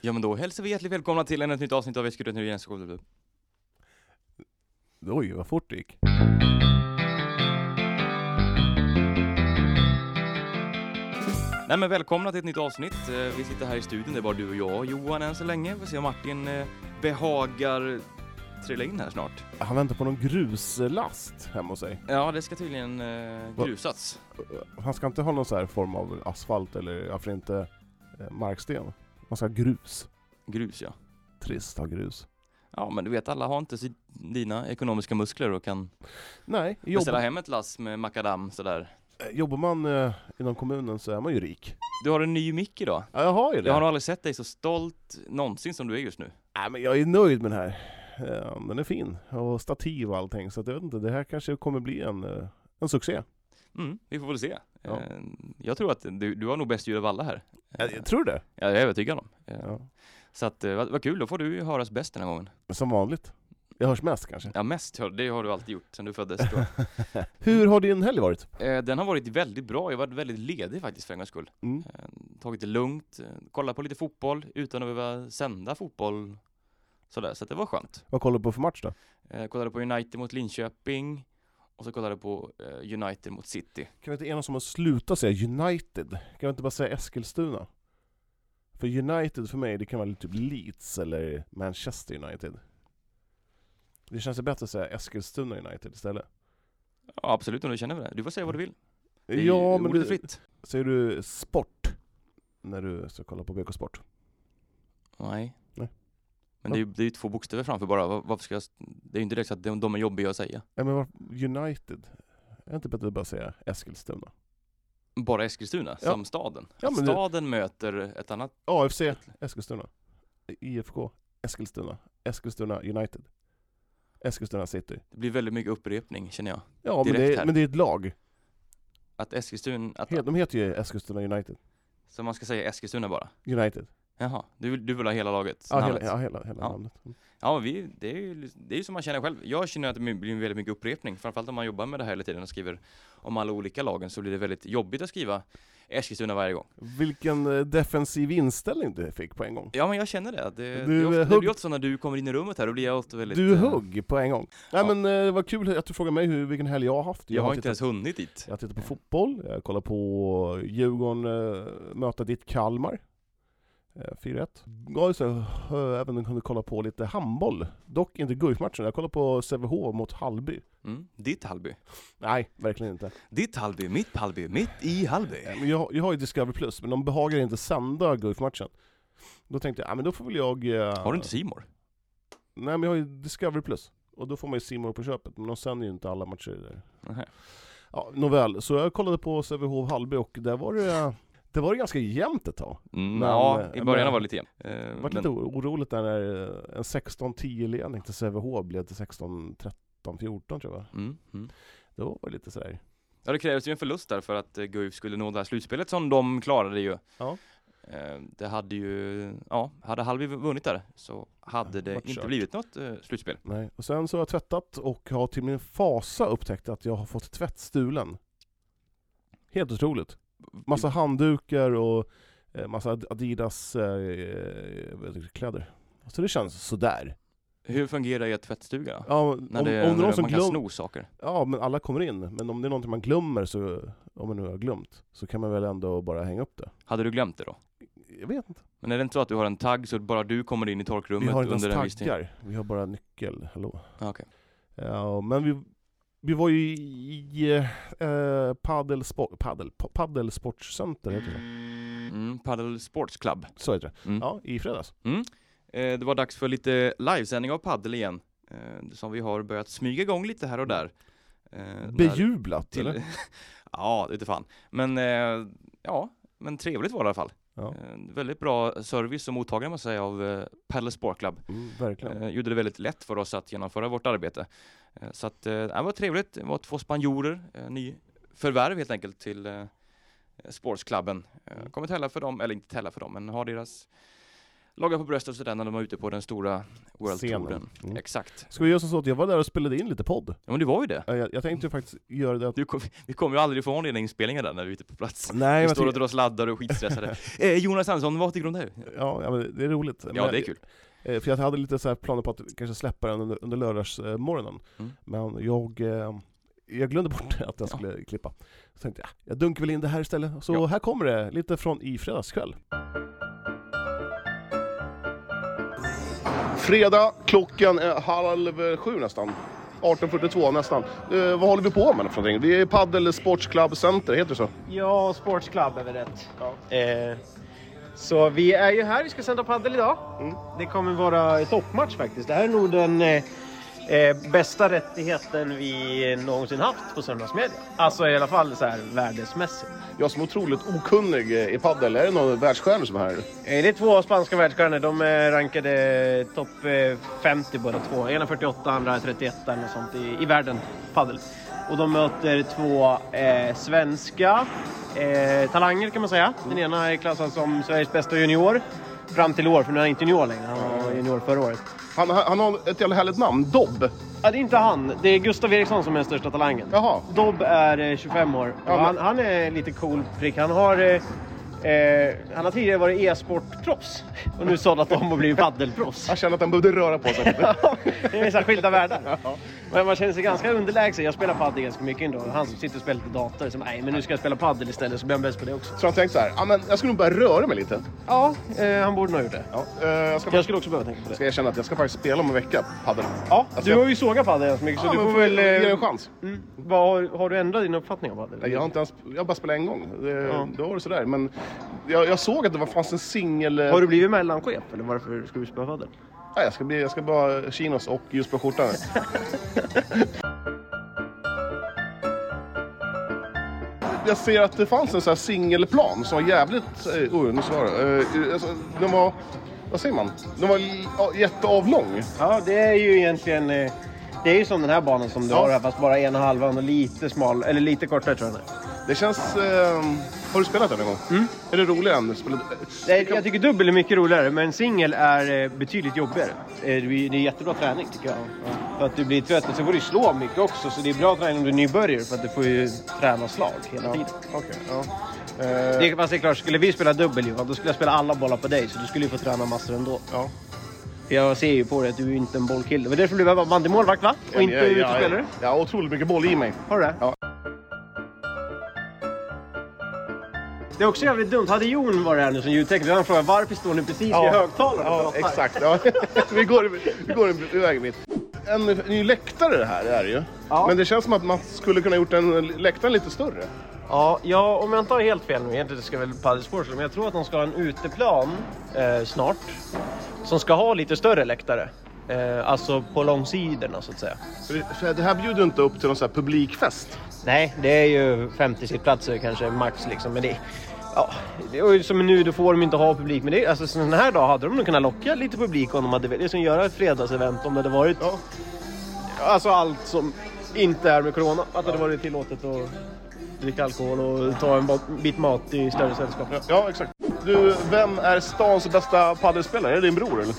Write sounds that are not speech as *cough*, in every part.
Ja men då hälsar vi hjärtligt välkomna till ännu ett nytt avsnitt av Eskilstuna Nyheter Skola. Oj, vad fort det gick. Nej men välkomna till ett nytt avsnitt. Eh, Vi sitter här i studion, det är bara du och jag och Johan än så länge. Vi får se om Martin eh, behagar trilla in här snart. Han väntar på någon gruslast hemma hos sig. Ja det ska tydligen eh, Va- grusats. Han ska inte ha någon så här form av asfalt eller varför inte eh, marksten. Man ska ha grus. Grus ja. Trist att ha grus. Ja men du vet alla har inte si- dina ekonomiska muskler och kan Nej, beställa jobbar, hem ett lass med makadam sådär. eh, jobbar man eh, inom kommunen så är man ju rik. Du har en ny mick idag. Ja, jag har ju det. Jag har nog aldrig sett dig så stolt någonsin som du är just nu. Nej, men jag är nöjd med den här. Eh, Den är fin. Och stativ och allting. Så att jag vet inte, det här kanske kommer bli en, eh, en succé. Mm, vi får väl se. Ja. Eh, Jag tror att du, du har nog bäst ljud av alla här. Jag, jag tror det. Ja, jag är övertygad om. Eh, Ja. Så att, eh, vad, vad kul, då får du höras bäst den här gången. Som vanligt. Jag hörs mest kanske. Ja, mest hör, det har du alltid gjort sedan du föddes. *laughs* Tror Hur har din helg varit? jag. Eh, den har varit väldigt bra, jag har varit väldigt ledig faktiskt för en gångs skull. Mm. Eh, Tagit det lugnt, eh, kollat på lite fotboll utan att behöva sända fotboll. Sådär, så att det var skönt. Vad kollar du på för match då? Eh, kollade på United mot Linköping och så kollade jag på eh, United mot City. Kan vi inte enas om att sluta säga United? Kan vi inte bara säga Eskilstuna? För United för mig, det kan vara typ Leeds eller Manchester United. Det känns ju bättre att säga Eskilstuna United istället. Ja, absolut om du känner för det. Du får säga vad du vill. Det är Ja, ju men ordet är du, fritt. säger du sport när du ska kolla på BK Sport? Nej. Nej. Men det är ju det är ju två bokstäver framför bara. Var- Varför ska jag... s- Det är ju inte direkt så att de, de är jobbiga att säga. Nej men var- United, är det inte bättre att bara säga Eskilstuna? Bara Eskilstuna, Ja. som staden. Ja, Att men det- staden möter ett annat... AFC Eskilstuna, IFK Eskilstuna, Eskilstuna United, Eskilstuna City. Det blir väldigt mycket upprepning känner jag. Ja men Direkt det, här. är, men det är ett lag. Att Eskilstuna... Att, Helt- De heter ju Eskilstuna United. Så man ska säga Eskilstuna bara. United. Jaha, du, vill- du vill ha hela laget? Ja, hela, namnet. ja, hela, hela Ja. namnet. Mm. ja men vi, det, är ju, det är ju som man känner själv. Jag känner att det blir väldigt mycket upprepning. Framförallt om man jobbar med det här hela tiden och skriver om alla olika lagen så blir det väldigt jobbigt att skriva Eskilstuna varje gång. Vilken eh, defensiv inställning du fick på en gång. Ja men jag känner det. Det, Du, det, är ofta, eh, det hugg- blir ofta så när du kommer in i rummet här, då blir jag ofta väldigt... Du eh, högg på en gång. Nej ja. men eh, det var kul att du frågade mig hur, vilken helg jag har haft. Jag har inte tittat, ens hunnit dit. jag har tittat på fotboll, jag kollar på Djurgården eh, möta ditt Kalmar. Eh, 4-1. Ja, just det, eh, även kunde kolla på lite handboll. Dock inte Guif-matchen, jag kollade på Sävehof mot Hallby. Mm. Ditt Hallby. Nej, verkligen inte. Ditt Hallby, mitt Hallby, mitt i Hallby. Eh, Men jag, jag har ju Discovery Plus, men de behagar inte sända Guif-matchen. Då tänkte jag, ja men då får väl jag... eh, Har du inte Simor? Nej men jag har ju Discovery Plus och då får man ju Simor på köpet, men de sänder ju inte alla matcher där. Ja, nåväl, så jag kollade på Sävehof Hallby och där var det, det var det ganska jämnt ett tag. Mm, Men, ja, eh, i början men- var det lite jämnt. Eh, Det var lite oroligt där när eh, en 16-10 ledning till Sävehof blev till 16-13-14 tror jag. mm, mm. Då var det lite sådär. Ja, det krävs ju en förlust där för att eh, Guif skulle nå det här slutspelet som de klarade ju. Ja. Eh, Det hade ju, ja, hade Hallby vunnit där så hade det Vart inte kört. blivit något eh, slutspel. Nej. Och sen så har jag tvättat och har till min fasa upptäckt att jag har fått tvätt stulen. Helt otroligt. Massa handdukar och eh, massa Ad- Adidas eh, vad heter det, kläder. Så det känns sådär. Hur fungerar er tvättstuga? då? Ja, om, När om det det, är någon när som man kan glömmer... sno saker. Ja, men alla kommer in. Men om det är någonting man glömmer, så, om man nu har glömt, så kan man väl ändå bara hänga upp det. Hade du glömt det då? Jag vet inte. Men är det inte så att du har en tagg så att bara du kommer in i Vi torkrummet har inte under en ens viss tid? taggar. Vi har bara nyckel. Hallå. Ah, okej. Ja, men vi, vi var ju i eh, padelsport, padel, pa- padelsportcenter, heter det Mm, Paddle Sports Club. så? Så heter det. Mm. Ja, i fredags. Eh, det var dags för lite livesändning av paddel igen. Eh, som vi har börjat smyga igång lite här och där. Eh, när- Bejublat, eller? *laughs* ja, ute fan. Men eh, ja, men trevligt var det i alla fall. Ja. Eh, väldigt bra service och mottagande måste jag säga av eh, Paddle Sport Club. Mm, verkligen. Eh, gjorde det väldigt lätt för oss att genomföra vårt arbete. Eh, så att, eh, det var trevligt. Det var två spanjorer, eh, ny förvärv helt enkelt till eh, sportsklubben. Eh, Mm. Kommer tälla för dem, eller inte tälla för dem, men har deras laga på bröstet sådär när de var ute på den stora Scenen. World-touren. Mm. Exakt. Ska vi göra som så att jag var där och spelade in lite podd? Ja men du var ju det. Eh, Jag, jag tänkte ju faktiskt göra det att... Du kom, vi kommer ju aldrig ifrån dina inspelningar där när vi är ute på plats. Nej, vi jag står och tänkte, drar oss laddar och är *laughs* skitstressade. eh, Jonas Andersson, vad tycker du om det här? ja, ja, men det är roligt. Ja, det är kul. Eh, För jag hade lite så här planer på att kanske släppa den under, under lördagsmorgonen. Mm. Men jag, eh, jag glömde bort *laughs* att jag Ja. skulle klippa. Så tänkte jag, jag dunkar väl in det här istället. Så Ja. här kommer det, lite från i fredagskväll. Fredag, klockan är halv sju nästan. 18.42 nästan. Eh, vad håller vi på med för någonting? Vi är i Paddel Sports Club Center, heter det så? Ja, sportsklubb är väl rätt. Eh, så vi är ju här, vi ska sända padel idag. Det kommer vara toppmatch faktiskt. Det här är nog den eh, eh, bästa rättigheten vi någonsin haft på söndagsmedia. Alltså i alla fall så här värdesmässigt. Jag som är otroligt okunnig i paddel, är det några världsstjärnor som är här? Eh, det är två spanska världsstjärnor. De är rankade topp eh, 50 båda två. Ena 48, andra 31 eller något sånt i, i världen, padel. Och de möter två eh, svenska eh, talanger kan man säga. Den ena är klassad som Sveriges bästa junior. Fram till i år, för nu är han inte junior längre. Han var junior förra året. Han, han har ett jävla härligt namn, Dobb. Ja, det är inte han. Det är Gustav Eriksson som är den största talangen. Jaha. Dobb är eh, 25 år. Ja, men- han, han är lite cool prick. Han har, eh, eh, han har tidigare varit e-sportproffs och nu sadlat om och blivit *laughs* paddelproffs. Jag känner att han behövde röra på sig. det är så här skilda världar. Men man känner sig ganska underlägsen. Jag spelar padel ganska mycket ändå. Han som sitter och spelar lite dator. Som, nej, men nu ska jag spela padel istället så blir han bäst på det också. Så han tänkte så här, "Ja, men jag ska nog börja röra mig lite. Ja, eh, han borde nog ha gjort det. Ja, eh, jag ska, Jag skulle också behöva tänka på det. ska erkänna att jag ska faktiskt spela om en vecka, padel. Ja, Alltså, du har ju sågat padel ganska mycket så Ja, du men får får väl... väl ge det en Eh, chans. mm, vad har, har du ändrat din uppfattning om padel? Nej, Jag har inte ens, jag har bara spelat en gång. Det, Ja. Då var det sådär. Men jag, jag såg att det var, fanns en singel... eh, Har du blivit mellanchef eller varför ska du spela padel? Nej, jag, ska bli, jag ska bara chinos och ljusblå skjorta *laughs* nu. Jag ser att det fanns en sån här singelplan som var jävligt... eh, Oj, nu svarar jag. Eh, alltså, Den var... Vad säger man? Den var li- ja, jätteavlång. Ja, det är ju egentligen... eh, Det är ju som den här banan som du Ja. har här fast bara ena halvan och lite smal, eller lite kortare tror jag den är. Det känns... Eh, har du spelat den någon gång? Är det roligare än... Spelat, Mm. Nej, Jag tycker dubbel är mycket roligare men singel är eh, betydligt jobbigare. Eh, Det är det är jättebra träning tycker jag. För att du blir trött och så får du slå mycket också så det är bra träning om du är nybörjare för att du får ju träna slag hela tiden. Okej, ja. Eh, Det, fast det är klart, skulle vi spela dubbel Johan, då skulle jag spela alla bollar på dig så du skulle ju få träna massor ändå. ja. För jag ser ju på dig att du är inte en bollkille. Det var därför du var bandymålvakt va? Och inte Jag- jag- jag- utespelare? Jag har otroligt mycket boll i mig. Har du det? Ja. Det är också jävligt dumt. Hade Jon varit här nu som ljudtekniker, då hade han frågat varför står ni precis vid högtalaren och Ja, pratar?" exakt. Ja. *laughs* vi går, vi går en väg mitt. En ny läktare det här är det ju. Ja. Men det känns som att man skulle kunna gjort en läktaren lite större. Ja, ja, om jag inte har helt fel nu, egentligen ska väl Padel Sports, men jag tror att de ska ha en uteplan eh, snart. Som ska ha lite större läktare. Eh, alltså på långsidorna så att säga. För det- För det här bjuder ju inte upp till någon sån här publikfest. Nej, det är ju 50 sittplatser kanske max liksom. Men det, ja, det är ju som nu, då får de inte ha publik. Men det, är- alltså sån här dag hade de nog kunnat locka lite publik om de hade velat. Liksom göra ett fredagsevent om det hade varit... Ja. Alltså allt som inte är med corona. Att det hade varit tillåtet att dricka alkohol och ta en bot- bit mat i större sällskap. Ja, exakt. Du, vem är stans bästa padelspelare? Är det din bror eller?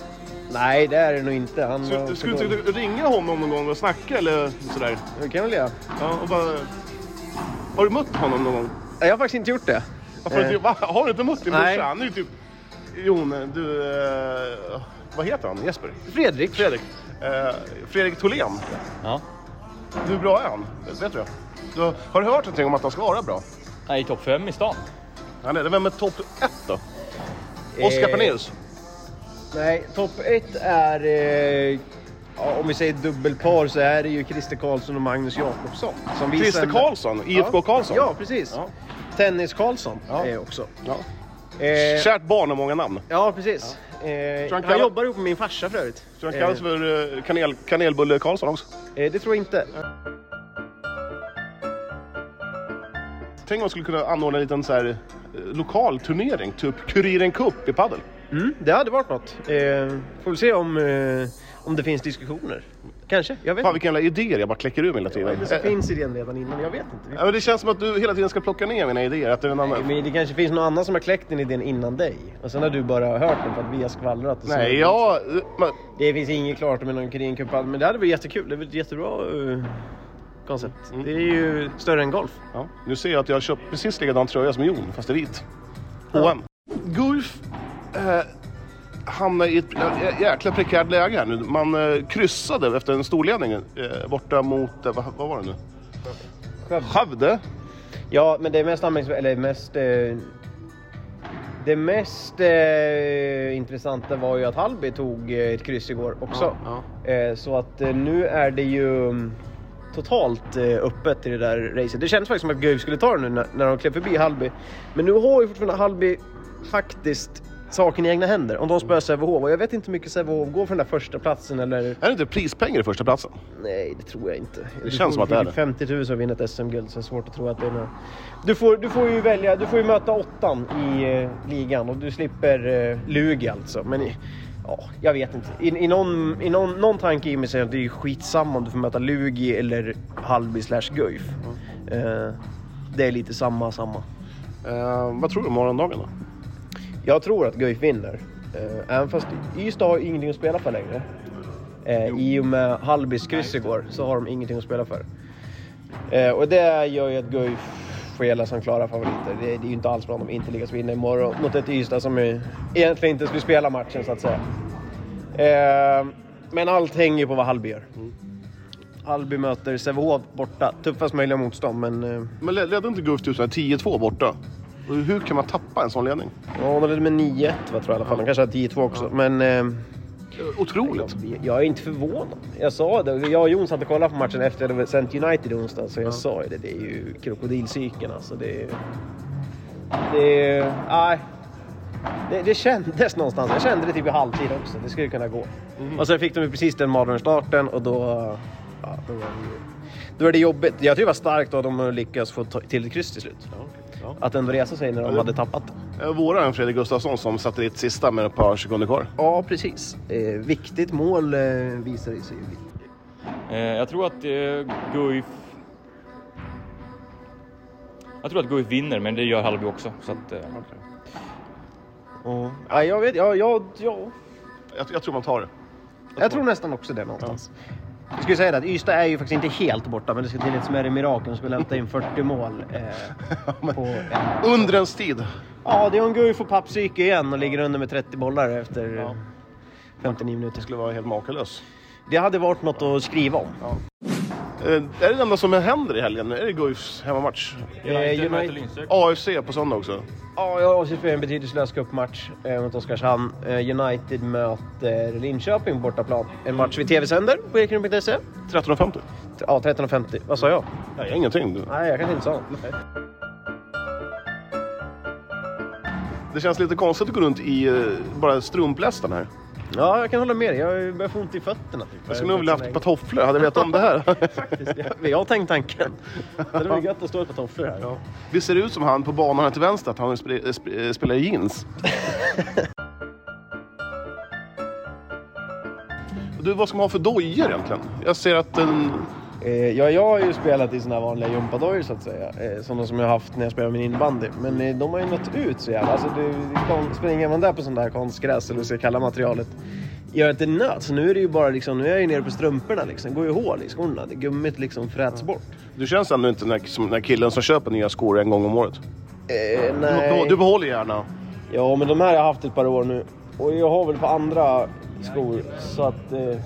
Nej, det är det nog inte. Han Skulle- var för Skulle dålig. inte du ringa honom någon gång och snacka eller sådär? Det kan jag väl göra. Ja, och bara... Har du mött honom någon gång? Nej, Jag har faktiskt inte gjort det. Varför har du inte- va? Har du inte mött din Eh. Nej. brorsa? Han är ju typ... Jon, du... eh, Vad heter han? Jesper? Fredrik. Fredrik. Eh, Fredrik Tholén. Ja. Hur bra är han? Det vet du? du har- har du hört någonting om att han ska vara bra? Nej, topp fem i stan. Han är det. Vem är topp ett då? Oskar Eh, Pennaeus. Nej, topp ett är... Eh, ja, om vi säger dubbelpar så är det ju Christer Karlsson och Magnus Jakobsson. Som vi Christer sänder- Karlsson, IFK ja. Karlsson. Ja, precis. Ja. Tennis Karlsson Ja. eh, också. Ja. Eh, Kärt barn har många namn. ja, precis. Eh, Tror han han kallar- jobbar ihop med min farsa för övrigt. Så han kallas för eh, kanel, Kanelbulle Karlsson också. eh, det tror jag inte. Tänk om man skulle kunna anordna en liten så här, eh, lokal turnering, typ Kuriren Cup i padel. Mm, det hade varit något. Eh, får vi se om, eh, om det finns diskussioner. Kanske, jag vet Fan inte. vilka jävla idéer jag bara kläcker ur mig hela tiden. Eller så Eh, finns idén redan innan, jag vet inte. Vi- Ja, men det känns som att du hela tiden ska plocka ner mina idéer. Att det är en annan... Men det kanske finns någon annan som har kläckt den idén innan dig. Och sen har du bara hört den för att vi har skvallrat. Och så- Nej, jag... Men, Det finns inget klart om någon Korean-kampanj, men det hade varit jättekul. Det är väl ett jättebra eh, koncept. Det är ju större än golf. ja, nu ser jag att jag har köpt precis likadan tröja som Jon, fast det är vit. H&M. Guif eh, hamnar i ett jä- jäkla prekärt läge här nu. Man eh, kryssade efter en storledning eh, borta mot... Eh, vad, vad var det nu? Skövde? Ja, men det är mest anmärkningsvärt, eller mest... Eh, det mest eh, intressanta var ju att Halby tog eh, ett kryss igår också. Ja, Eh, så att eh, nu är det ju mm, totalt eh, öppet i det där racet. Det kändes faktiskt som att Guif skulle ta det nu när, när de klev förbi Halby. Men nu har ju fortfarande Halby faktiskt saken i egna händer. Om de spöar Sävehof och jag vet inte hur mycket Sävehof går för den där första platsen eller... Är det inte prispengar i första platsen? Nej, det tror jag inte. Det känns som att det är det. 50 000 och vinner ett SM-guld, så det är svårt att tro att det är några. Du får, du får ju välja, du får ju möta åttan i eh, ligan och du slipper eh, Lugi alltså. Men i, ja, jag vet inte. I, i, någon, i någon, någon tanke i mig säger att det är skitsamma om du får möta Lugi eller Halby slash Guif. Mm. Eh, det är lite samma, samma. Eh, vad tror du om morgondagen då? Jag tror att Guif vinner. Eh, även fast Ystad har ju ingenting att spela för längre. Eh, I och med Halbys kryss igår så har de ingenting att spela för. Eh, och det gör ju att Guif skelar som klara favoriter. Det, det är ju inte alls bra om de inte lyckas vinna imorgon mot ett Ystad som ju egentligen inte skulle spela matchen så att säga. Eh, men allt hänger ju på vad Halby gör. Halby möter Sävehof borta. Tuffast möjliga motstånd men... Eh, Men led- ledde inte Guif till 10-2 borta? Och Hur kan man tappa en sån ledning? ja, de ledde med 9-1 va, tror jag i alla fall. De kanske hade 10-2 också men... Eh, Eh, Otroligt! Jag, Liksom. jag är inte förvånad. Jag sa det. Jag och Jon satt och kollade på matchen efter att hade sänt United i onsdags. Så jag sa ju det. Det är ju krokodilcykeln alltså. Det är ju... Det är ju... Nej. Det, det kändes någonstans. Jag kände det typ i halvtid också. Det skulle kunna gå. Mm. Och sen fick de ju precis den mardrömsstarten och då... Ja, då var det ju... Då är det jobbigt. Jag tycker det var starkt att de lyckas få ta- till ett kryss till slut. Ja. Att ändå resa sig när de det- hade tappat det. Eh, Våran Fredrik Gustafsson som satte dit sista med ett par sekunder kvar. Ja, precis. Eh, viktigt mål eh, visar det sig ju. Eh, jag tror att eh, Guif... Jag tror att Guif vinner, men det gör Hallby också. Så att, eh, Ja. Ja, jag vet, ja, ja, ja. Jag, jag tror man tar det. Jag tror nästan också det någonstans. Jag skulle säga det att Ystad är ju faktiskt inte helt borta, men det ska till ett smärre mirakel. De skulle hämta in 40 mål. Eh, på en... Undrens tid. Ja, det är en Guif och pappsyke igen och ligger under med 30 bollar efter eh, 59 Det minuter. skulle vara helt makalös. Det hade varit något att skriva om. Eh, är det det enda som händer i helgen? Är det Guifs hemmamatch? Eh, United- möter Linköping. AFC på söndag också. Ja, jag avser för en betydelselös cupmatch eh, mot Oskarshamn. Eh, United möter Linköping på bortaplan. En match vi tv-sänder på E ekerund.se. 13.50? Ja, 13.50. Vad sa jag? Nej, ingenting. Nej, jag kanske inte sa något. Det känns lite konstigt att gå runt i eh, bara strumplästen här. Ja, jag kan hålla med dig. Jag börjar få ont i fötterna. Typ. Jag skulle nog vilja haft ett par tofflor, hade jag vetat om det här. Faktiskt, jag, jag har tänkt tanken. Det hade varit gött att stå ett par tofflor här. Ja. Vi ser ut som han på banan här till vänster, att han sp- eh, sp- spelar i jeans. *laughs* Du, vad ska man ha för dojor egentligen? Jag ser att den... Eh, Ja, jag har ju spelat i såna här vanliga gympadojor så att säga. Eh, Sådana som jag har haft när jag spelade min innebandy. Men eh, de har ju nått ut så jävla. Alltså, det, kon, springer man där på sån där konstgräs, eller vad ska kalla materialet, gör att det nöts. Nu är det ju bara liksom, nu är jag ju nere på strumporna liksom. går ju hål i skorna. Det gummit liksom fräts bort. Du känns ändå inte den där, som den där killen som köper nya skor en gång om året. Eh, Du, nej. du behåller gärna. Ja, men de här har jag haft ett par år nu. Och jag har väl på andra skor, så att... Eh,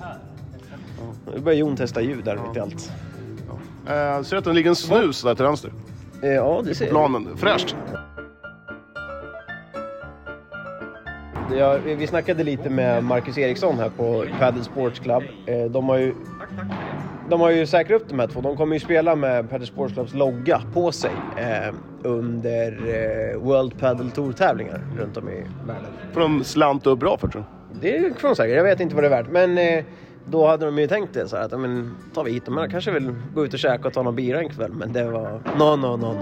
nu börjar Jon testa ljud där mitt i allt. Eh, ser att det ligger en snus där till vänster. Eh, ja, det ser jag. Planen. Fräscht. Ja, vi- Vi snackade lite med Marcus Eriksson här på Padel Sports Club. Eh, de har ju... De har ju säkrat upp de här två. De kommer ju spela med Padel Sports Clubs logga på sig eh, under eh, World Padel Tour-tävlingar runt om i världen. För de slant upp bra för tror jag. Det kan de säkert. Jag vet inte vad det är värt. Men eh, Då hade de ju tänkt det så här att, ja, men tar vi hit dem här kanske vill gå ut och käka och ta någon bira en kväll. Men det var no, no, no, no.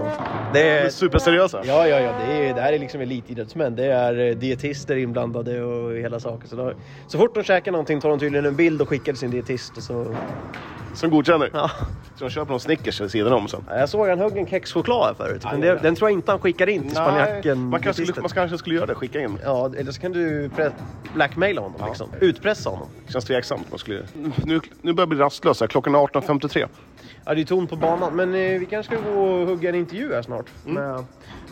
De Det är är... superseriösa. Eh. Ja, ja, ja. Det, är, det här är liksom elitidrottsmän. Det är eh, dietister inblandade och hela saken. Så, då, så fort de käkar någonting tar de tydligen en bild och skickar till sin dietist. Och så, Som godkänner. ja. Så de köper någon Snickers vid sidan om sen. Ja, Jag såg han högg en kexchoklad här förut, men det, den tror jag inte han skickar in till spanjacken. man, kanske skulle, dietisten. man kanske skulle göra det, skicka in. Ja, eller så kan du pre- blackmaila honom liksom. Utpressa honom. Känns tveksamt. Man skulle... nu, nu börjar jag bli rastlös här. Klockan är 18.53. Ja, det är tomt på banan, men eh, vi kanske ska gå och hugga en intervju här snart. Men,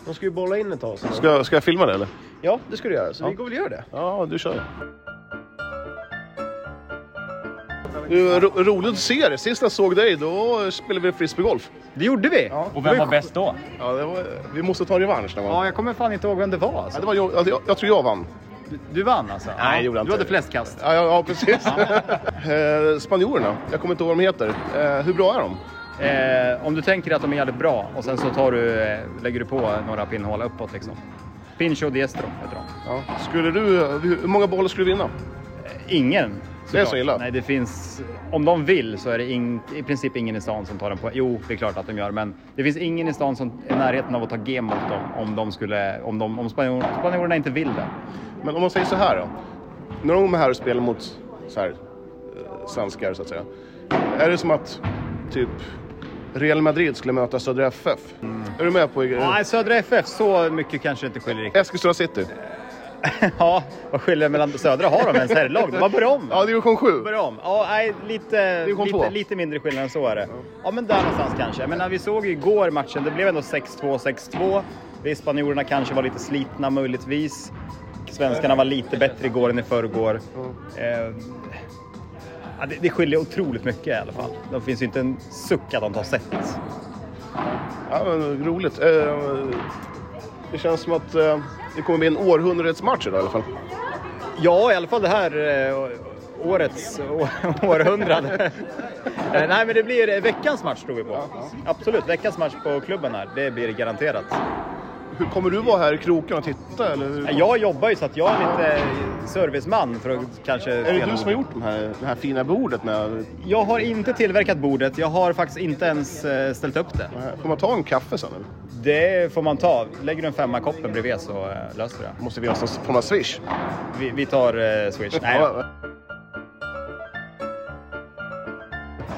de ska ju bolla in ett tag. Så. Mm. Ska, ska jag filma det eller? Ja, det ska du göra, så vi går väl och gör det. Ja, du kör. Du, ro, roligt att se dig. Sist jag såg dig då spelade vi frisbeegolf. Det gjorde vi! Ja, Och vem var bäst då? Ja, det var, vi måste ta revansch. När man... jag kommer fan inte ihåg vem det var ja, alltså. det var, jag, jag, jag tror jag vann. Du, du vann alltså? Nej, det gjorde jag Du hade inte. flest kast. Ja, ja, ja precis. *laughs* eh, spanjorerna, jag kommer inte ihåg vad de heter. Eh, hur bra är de? Eh, om du tänker att de är jävligt bra och sen så tar du, eh, lägger du på några pinnhål uppåt liksom. Pincho diestro heter de. Ja. Skulle du, hur många bollar skulle du vinna? Eh, ingen. Det är så såklart. illa? Nej, det finns... Om de vill så är det in, i princip ingen i stan som tar dem på... Jo, det är klart att de gör, men det finns ingen i stan som är i närheten av att ta G mot dem om de skulle... Om, de, om spanjor, spanjorerna inte vill det. Men om man säger så här då. När de är här och spelar mot så här, eh, svenskar så att säga. Är det som att typ Real Madrid skulle möta Södra FF? Är du med på Mm. eh, Nej, Södra FF, så mycket kanske inte skiljer riktigt. Eskilstuna City? Ja, vad skiljer mellan Södra? Har de ens herrlag? De har börjat om. Ja, division 7. Börja om. Ja, nej, lite, kom lite, på. lite mindre skillnad än så är det. Ja, men där någonstans kanske. Men när vi såg ju igår matchen, det blev ändå 6-2, 6-2. Visst, spanjorerna kanske var lite slitna möjligtvis. Svenskarna var lite bättre igår än i förrgår. Eh, ja, det, det skiljer otroligt mycket i alla fall. Det finns ju inte en suck att de tar set. Ja, men, roligt. Eh, det känns som att eh, det kommer bli en århundradets match idag i alla fall. Ja, i alla fall det här eh, årets å- *laughs* *laughs* århundrade. Eh, Nej, men det blir veckans match tror vi på. Absolut, veckans match på klubben här. Det blir garanterat. Hur, kommer du vara här i kroken och titta? Eller? hur? Eh, Jag jobbar ju så att jag är lite serviceman för att kanske... Är det spela du som har ordet. gjort de här, det här fina bordet? Med, Jag har inte tillverkat bordet. Jag har faktiskt inte ens eh, ställt upp det. får man ta en kaffe sen? Eller? Det får man ta. Lägger du en femma i koppen bredvid så eh, löser vi det. Måste vi ha någon form av swish? Vi, vi tar eh, Swish. Nej, då. Ja.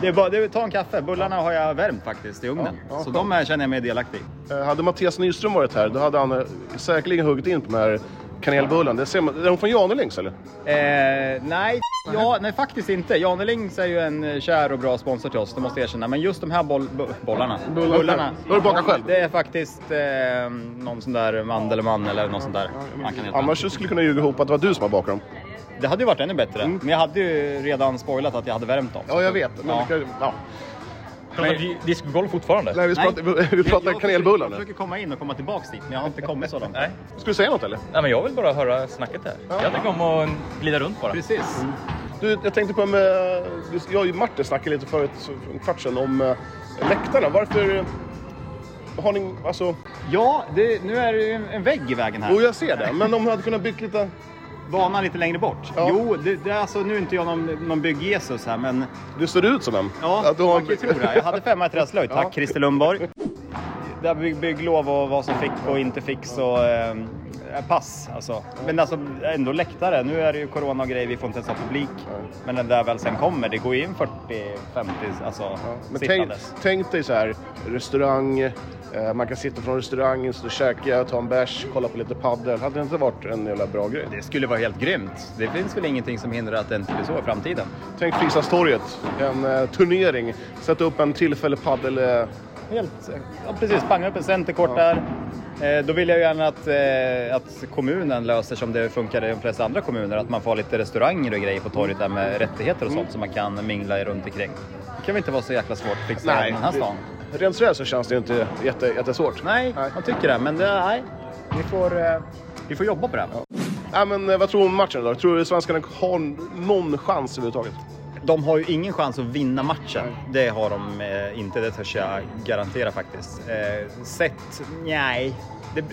det är bara, det är, ta en kaffe. Bullarna har jag värmt faktiskt i ugnen. Ja, ja, Så de här känner jag mig delaktig i. Eh, Hade Mattias Nyström varit här, då hade han eh, säkerligen huggit in på den här kanelbullen. Det ser man, är de från Janelings eller? Eh, nej, ja, nej, faktiskt inte. Janelings är ju en eh, kär och bra sponsor till oss, det måste jag erkänna. Men just de här boll, bo, bollarna, Bullarna. Har du bakat själv? Det är faktiskt eh, någon sån där mandelman eller något sånt där. Man kan heta. Annars så skulle jag kunna ljuga ihop att det var du som har bakat dem. Det hade ju varit ännu bättre, men jag hade ju redan spoilat att jag hade värmt dem. Mm. Ja, jag vet. Men Ja. ja. Ja. Pratar vi discgolf fortfarande? Nej, vi Nej. pratar, vi pratar Jag- jag kanelbullar försöker- Jag nu. försöker komma in och komma tillbaks dit, men jag har inte kommit så långt. Nej. Ska du säga något eller? Nej, men jag vill bara höra snacket här. Jag tycker om att glida runt bara. Precis. Du, jag tänkte på med, du- jag och Martin snackade lite förut, för en kvart sedan, om eh, läktarna. Varför eh, har ni, alltså, Ja, det, nu är det ju en- en vägg i vägen här. jo jag ser det, men om ni hade kunnat bygga lite... Banan lite längre bort. Ja. Jo, det, det, är alltså, nu är inte jag någon, någon bygg-Jesus här, men Du ser ut som en. Ja, Att du har- man kan ju tro det. Jag hade femma i träslöjd. Tack Ja. Christer Lundborg. Det här bygg, bygglov och vad som fick och inte fick så eh, pass alltså. Men alltså ändå läktare. Nu är det ju corona och grejer. Vi får inte ens ha publik. Men den där väl sen kommer. Det går ju in 40-50 alltså Men tänk, sittandes. tänk dig så här, restaurang, eh, man kan sitta från restaurangen, stå och käka, ta en bärs, kolla på lite paddel. Hade det inte varit en jävla bra grej? Det skulle vara helt grymt. Det finns väl ingenting som hindrar att det inte blir så i framtiden. Tänk Fristadstorget, en eh, turnering, sätta upp en tillfällig paddel... Eh, Helt, ja, precis, panga upp en centerkort där. Eh, då vill jag ju gärna att, eh, att kommunen löser som det funkar i de flesta andra kommuner, att man får ha lite restauranger och grejer på torget där med rättigheter och sånt som man kan mingla runt omkring. Det kan väl inte vara så jäkla svårt att fixa i den här det- stan? Rent sådär så känns det ju inte jätte, jättesvårt. Nej, Nej. jag tycker det, men det, nej. Vi får, eh, vi får jobba på det. här. Nej, men eh, vad tror du om matchen idag? Tror du svenskarna har någon chans överhuvudtaget? De har ju ingen chans att vinna matchen. Det har de eh, inte, det törs jag garantera faktiskt. Eh, sett? Nej. Det,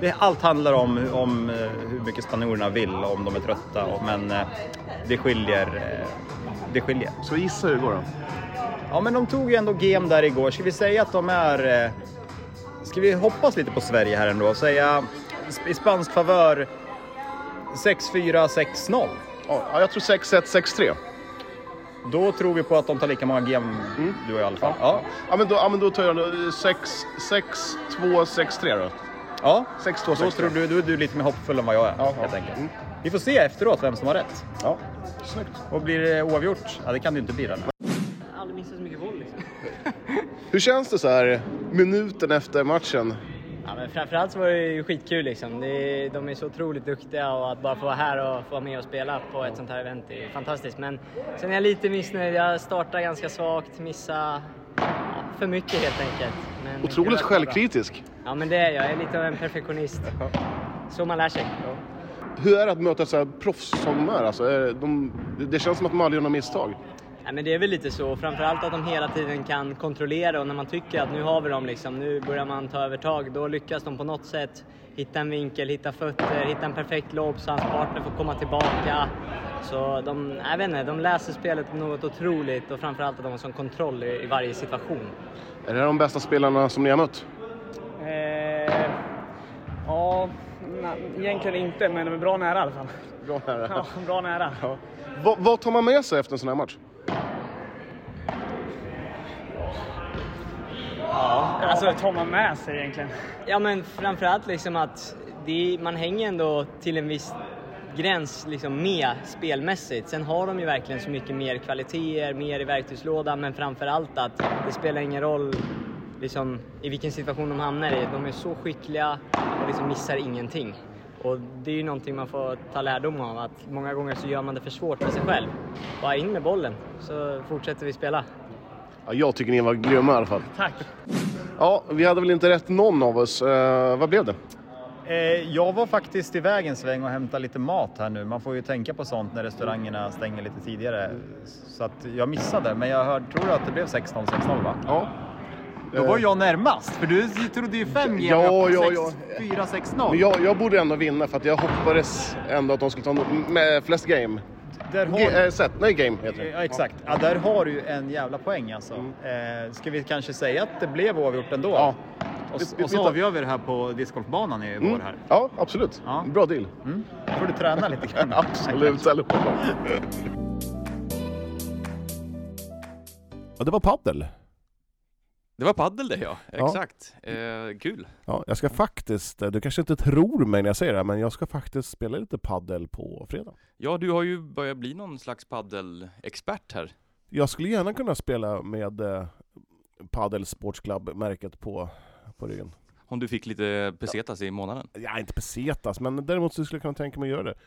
det, allt handlar om, om eh, hur mycket spanjorerna vill, om de är trötta. och- Men eh, det skiljer. eh, Det skiljer. Så gissa hur det går då. Ja, men de tog ju ändå GM där igår. Ska vi säga att de är... eh, Ska vi hoppas lite på Sverige här ändå och säga sp- i spansk favör 6-4, 6-0. Ja, jag tror 6-1, 6-3. Då tror vi på att de tar lika många GM, du och jag i alla fall. Ja. Ja men, då, ja, men då tar jag då, eh, sex- sex, två, sex, tre då. ja. 6-2, Då, tror 6-3. du, då är du lite mer hoppfull än vad jag är, Ja, ja. helt enkelt. Mm. Vi får se efteråt vem som har rätt. Ja, snyggt. Och blir det oavgjort? Ja, det kan det ju inte bli. Då. aldrig missat så mycket liksom. volley. Hur känns det så här minuten efter matchen? Ja, men framförallt så var det ju skitkul liksom. Det är, de är så otroligt duktiga och att bara få vara här och få vara med och spela på ett sånt här event är fantastiskt. Men sen är jag lite missnöjd. Jag startar ganska svagt, missade ja, för mycket helt enkelt. Men kul Otroligt att vara bra. självkritisk. Ja, men det är jag. Jag är lite av en perfektionist. Så man lär sig. Hur är det att möta så här proffs som de är? Alltså, är de, det känns som att Malmö gör några misstag. Ja, men det är väl lite så. Framförallt att de hela tiden kan kontrollera och när man tycker att nu har vi dem, liksom, nu börjar man ta övertag, då lyckas de på något sätt hitta en vinkel, hitta fötter, hitta en perfekt lobb så hans partner får komma tillbaka. Så de, jag vet inte, de läser spelet något otroligt och framförallt att de har sån kontroll i, i varje situation. Är det här de bästa spelarna som ni har mött? Eh, ja, na, egentligen inte, men de är bra nära i alla fall. Bra nära. Ja, *laughs* bra nära. Vad, vad tar man med sig efter en sån här match? Alltså, vad tar man med sig egentligen? Ja, men framförallt liksom att det, man hänger ändå till en viss gräns liksom med spelmässigt. Sen har de ju verkligen så mycket mer kvaliteter, mer i verktygslådan, men framförallt att det spelar ingen roll liksom, i vilken situation de hamnar i. De är så skickliga och liksom missar ingenting. Och det är ju någonting man får ta lärdom av, att många gånger så gör man det för svårt för sig själv. Bara in med bollen, så fortsätter vi spela. Ja, jag tycker ni var grymma i alla fall. Tack. Ja, vi hade väl inte rätt någon av oss. Eh, vad blev det? Eh, jag var faktiskt iväg en sväng och hämtade lite mat här nu. Man får ju tänka på sånt när restaurangerna stänger lite tidigare. Så att jag missade, men jag hör, tror att det blev 16-16 va? Ja. Då var jag närmast, för du trodde ju 5G. Eh. Ja, ja, ja. 4-6-0. Men jag, jag borde ändå vinna för att jag hoppades ändå att de skulle ta no- med flest game. Där har... G- eh, set, nej game heter det. Ja, exakt. Ja, där har du ju en jävla poäng alltså. Eh, ska vi kanske säga att det blev oavgjort ändå? Ja. Och, s- Vi- vi- och så vi tar- avgör vi det här på discgolfbanan i vår här. Ja, absolut. Ja. Bra deal. Mm. Då får du träna lite *laughs* grann. Absolut, allihopa. Ja, det var paddel. Det var paddel det ja, Ja. exakt. Eh, kul. Ja, jag ska faktiskt, du kanske inte tror mig när jag säger det här, men jag ska faktiskt spela lite paddel på fredag. Ja, du har ju börjat bli någon slags paddelexpert här. Jag skulle gärna kunna spela med eh, Padel Sports Club-märket på, på ryggen. Om du fick lite pesetas i månaden. Ja, inte pesetas, men däremot så skulle jag kunna tänka mig att göra det.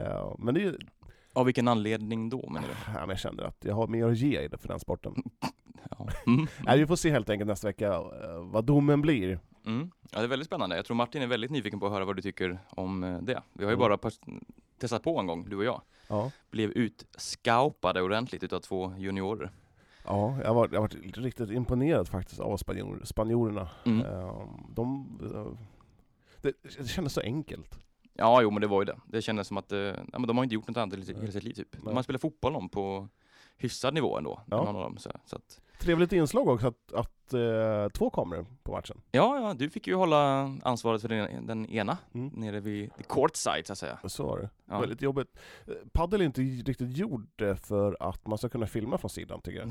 Eh, men det är ju- Av vilken anledning då menar du? ja, men jag känner att jag har mer att ge i det för den sporten. Ja. Mm. Nej, vi får se helt enkelt nästa vecka eh, vad domen blir. Mm. Ja, det är väldigt spännande. Jag tror Martin är väldigt nyfiken på att höra vad du tycker om eh, det. Vi har ju Mm. bara pas- testat på en gång, du och jag. Ja, Blev utskaupade ordentligt utav två juniorer. ja jag har varit- jag har varit riktigt imponerad faktiskt av spanjor, spanjorerna. Mm. Eh, de, eh, det, det kändes så enkelt. Ja, jo men det var ju det. Det kändes som att eh, ja, men de har inte gjort något annat i sitt- hela Nej. sitt liv typ. Nej. De har spelat fotboll om på hyfsad nivå ändå. Ja. Någon av dem, så, så att, Trevligt inslag också att, att eh, två kameror på matchen. ja, ja, du fick ju hålla ansvaret för den, den ena Mm. nere vid courtside så att säga. Så var det. Ja. Väldigt jobbigt. Eh, Padel är inte riktigt gjord eh, för att man ska kunna filma från sidan *laughs* tycker jag.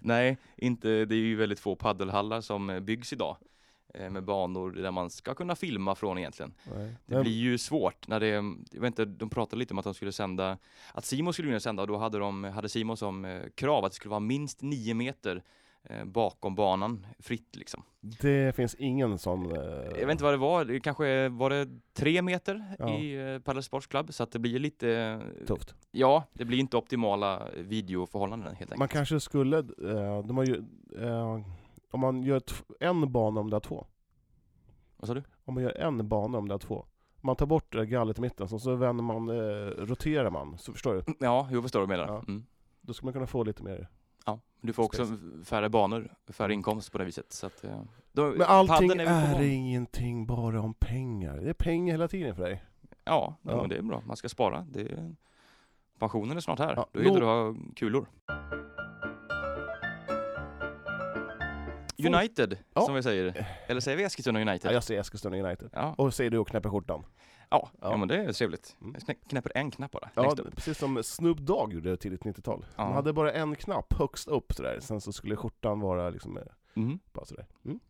Nej, inte, det är ju väldigt få paddelhallar som eh, byggs idag. eh, Med banor där man ska kunna filma från egentligen. Nej. Det Men- blir ju svårt när det, jag vet inte, de pratade lite om att de skulle sända, att Simon skulle kunna sända och då hade de, hade Simon som eh, krav att det skulle vara minst 9 meter eh, bakom banan, fritt liksom. Det finns ingen sån... eh, Jag vet inte vad det var, det kanske var det 3 meter Ja. i eh, Padel Sports Club, så att det blir lite, eh, Tufft. ja, det blir inte optimala eh, videoförhållanden helt enkelt. Man kanske skulle... eh, de har ju, eh, om man gör t- en bana om det är två. Vad sa du? Om man gör en bana om det är två. Man tar bort eh, gallret i mitten, så, så vänder man, eh, roterar man. Så förstår du? Ja, jag förstår vad du menar. Ja. Mm. Då skulle man kunna få lite mer... Ja, du får också färre banor, färre inkomst på det viset. Så att, eh, då, Men allting padden är, vi på gång. ingenting bara om pengar. Det är pengar hela tiden för dig. Ja, Ja. ja. Men det är bra. Man ska spara. Det är... Pensionen är snart här. Ja, Då gäller låt- det att ha kulor. United, Ja. som vi säger. Eller säger vi Eskilstuna Ja, United? Ja, jag säger Eskilstuna United. ja. Och säger du och knäpper skjortan. ja. Ja. men det är trevligt. Mm. Jag knä- knäpper en knapp bara. Ja, längst upp. precis som Snoop Dogg gjorde tidigt 90-tal. Ja. Man hade bara en knapp högst upp sådär, sen så skulle skjortan vara liksom, eh, Mm. bara sådär. Mm.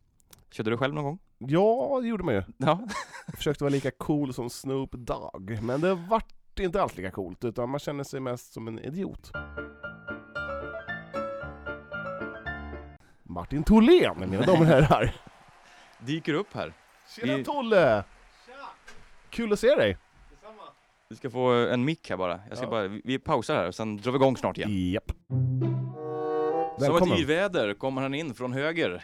Körde du själv någon gång? Ja, det gjorde man ju. *laughs* Ja. Jag försökte vara lika cool som Snoop Dogg, men det vart inte alls lika coolt, utan man kände sig mest som en idiot. Martin Tholén, mina damer och herrar! Dyker upp här. *laughs* Tjena Vi- Tolle! Kul att se dig! Du ska få eh, en mick här bara. Jag ska Ja. bara. vi- Vi pausar här och sen drar vi igång snart igen. Japp. Som ett Välkommen! yrväder kommer han in från höger.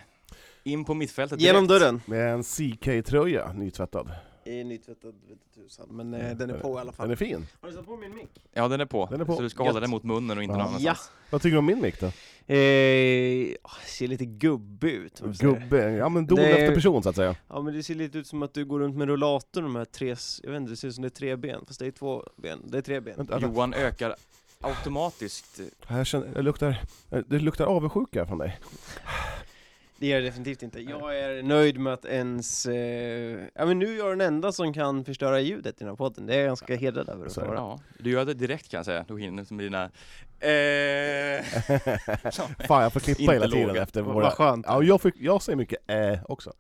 In på mittfältet Genom direkt. dörren. Med en CK-tröja, nytvättad. I nytvättad vete tusan, men eh, den är på i alla Den fall. är fin. Har du satt på min mick? Ja, den är på. Den är på. Så du ska hålla Gött. den mot munnen och inte Ja. någon annanstans. Ja. Vad tycker du om min mick då? Eh, åh, ser lite gubbig ut. om jag säger. Gubbe, ja men don Det är- efter person så att säga. Ja men det ser lite ut som att du går runt med rullator de här tre, jag vet inte, det ser ut som det är tre ben, fast det är två ben, det är tre ben. Vänta, vänta. Johan ökar automatiskt. eh, Jag känner, jag luktar, eh, det luktar avundsjuka från dig. Det gör det definitivt inte. Jag är nöjd med att ens, eh, ja men nu är jag den enda som kan förstöra ljudet i den här podden, det är jag ganska hedrad över att Så är det. vara. Ja, du gör det direkt kan jag säga. Du hinner som dina... Eh... Fan jag får *laughs* klippa Inte hela tiden låga. efter Vad- våra... Vad skönt. Ja, jag, fick, jag säger mycket äh också.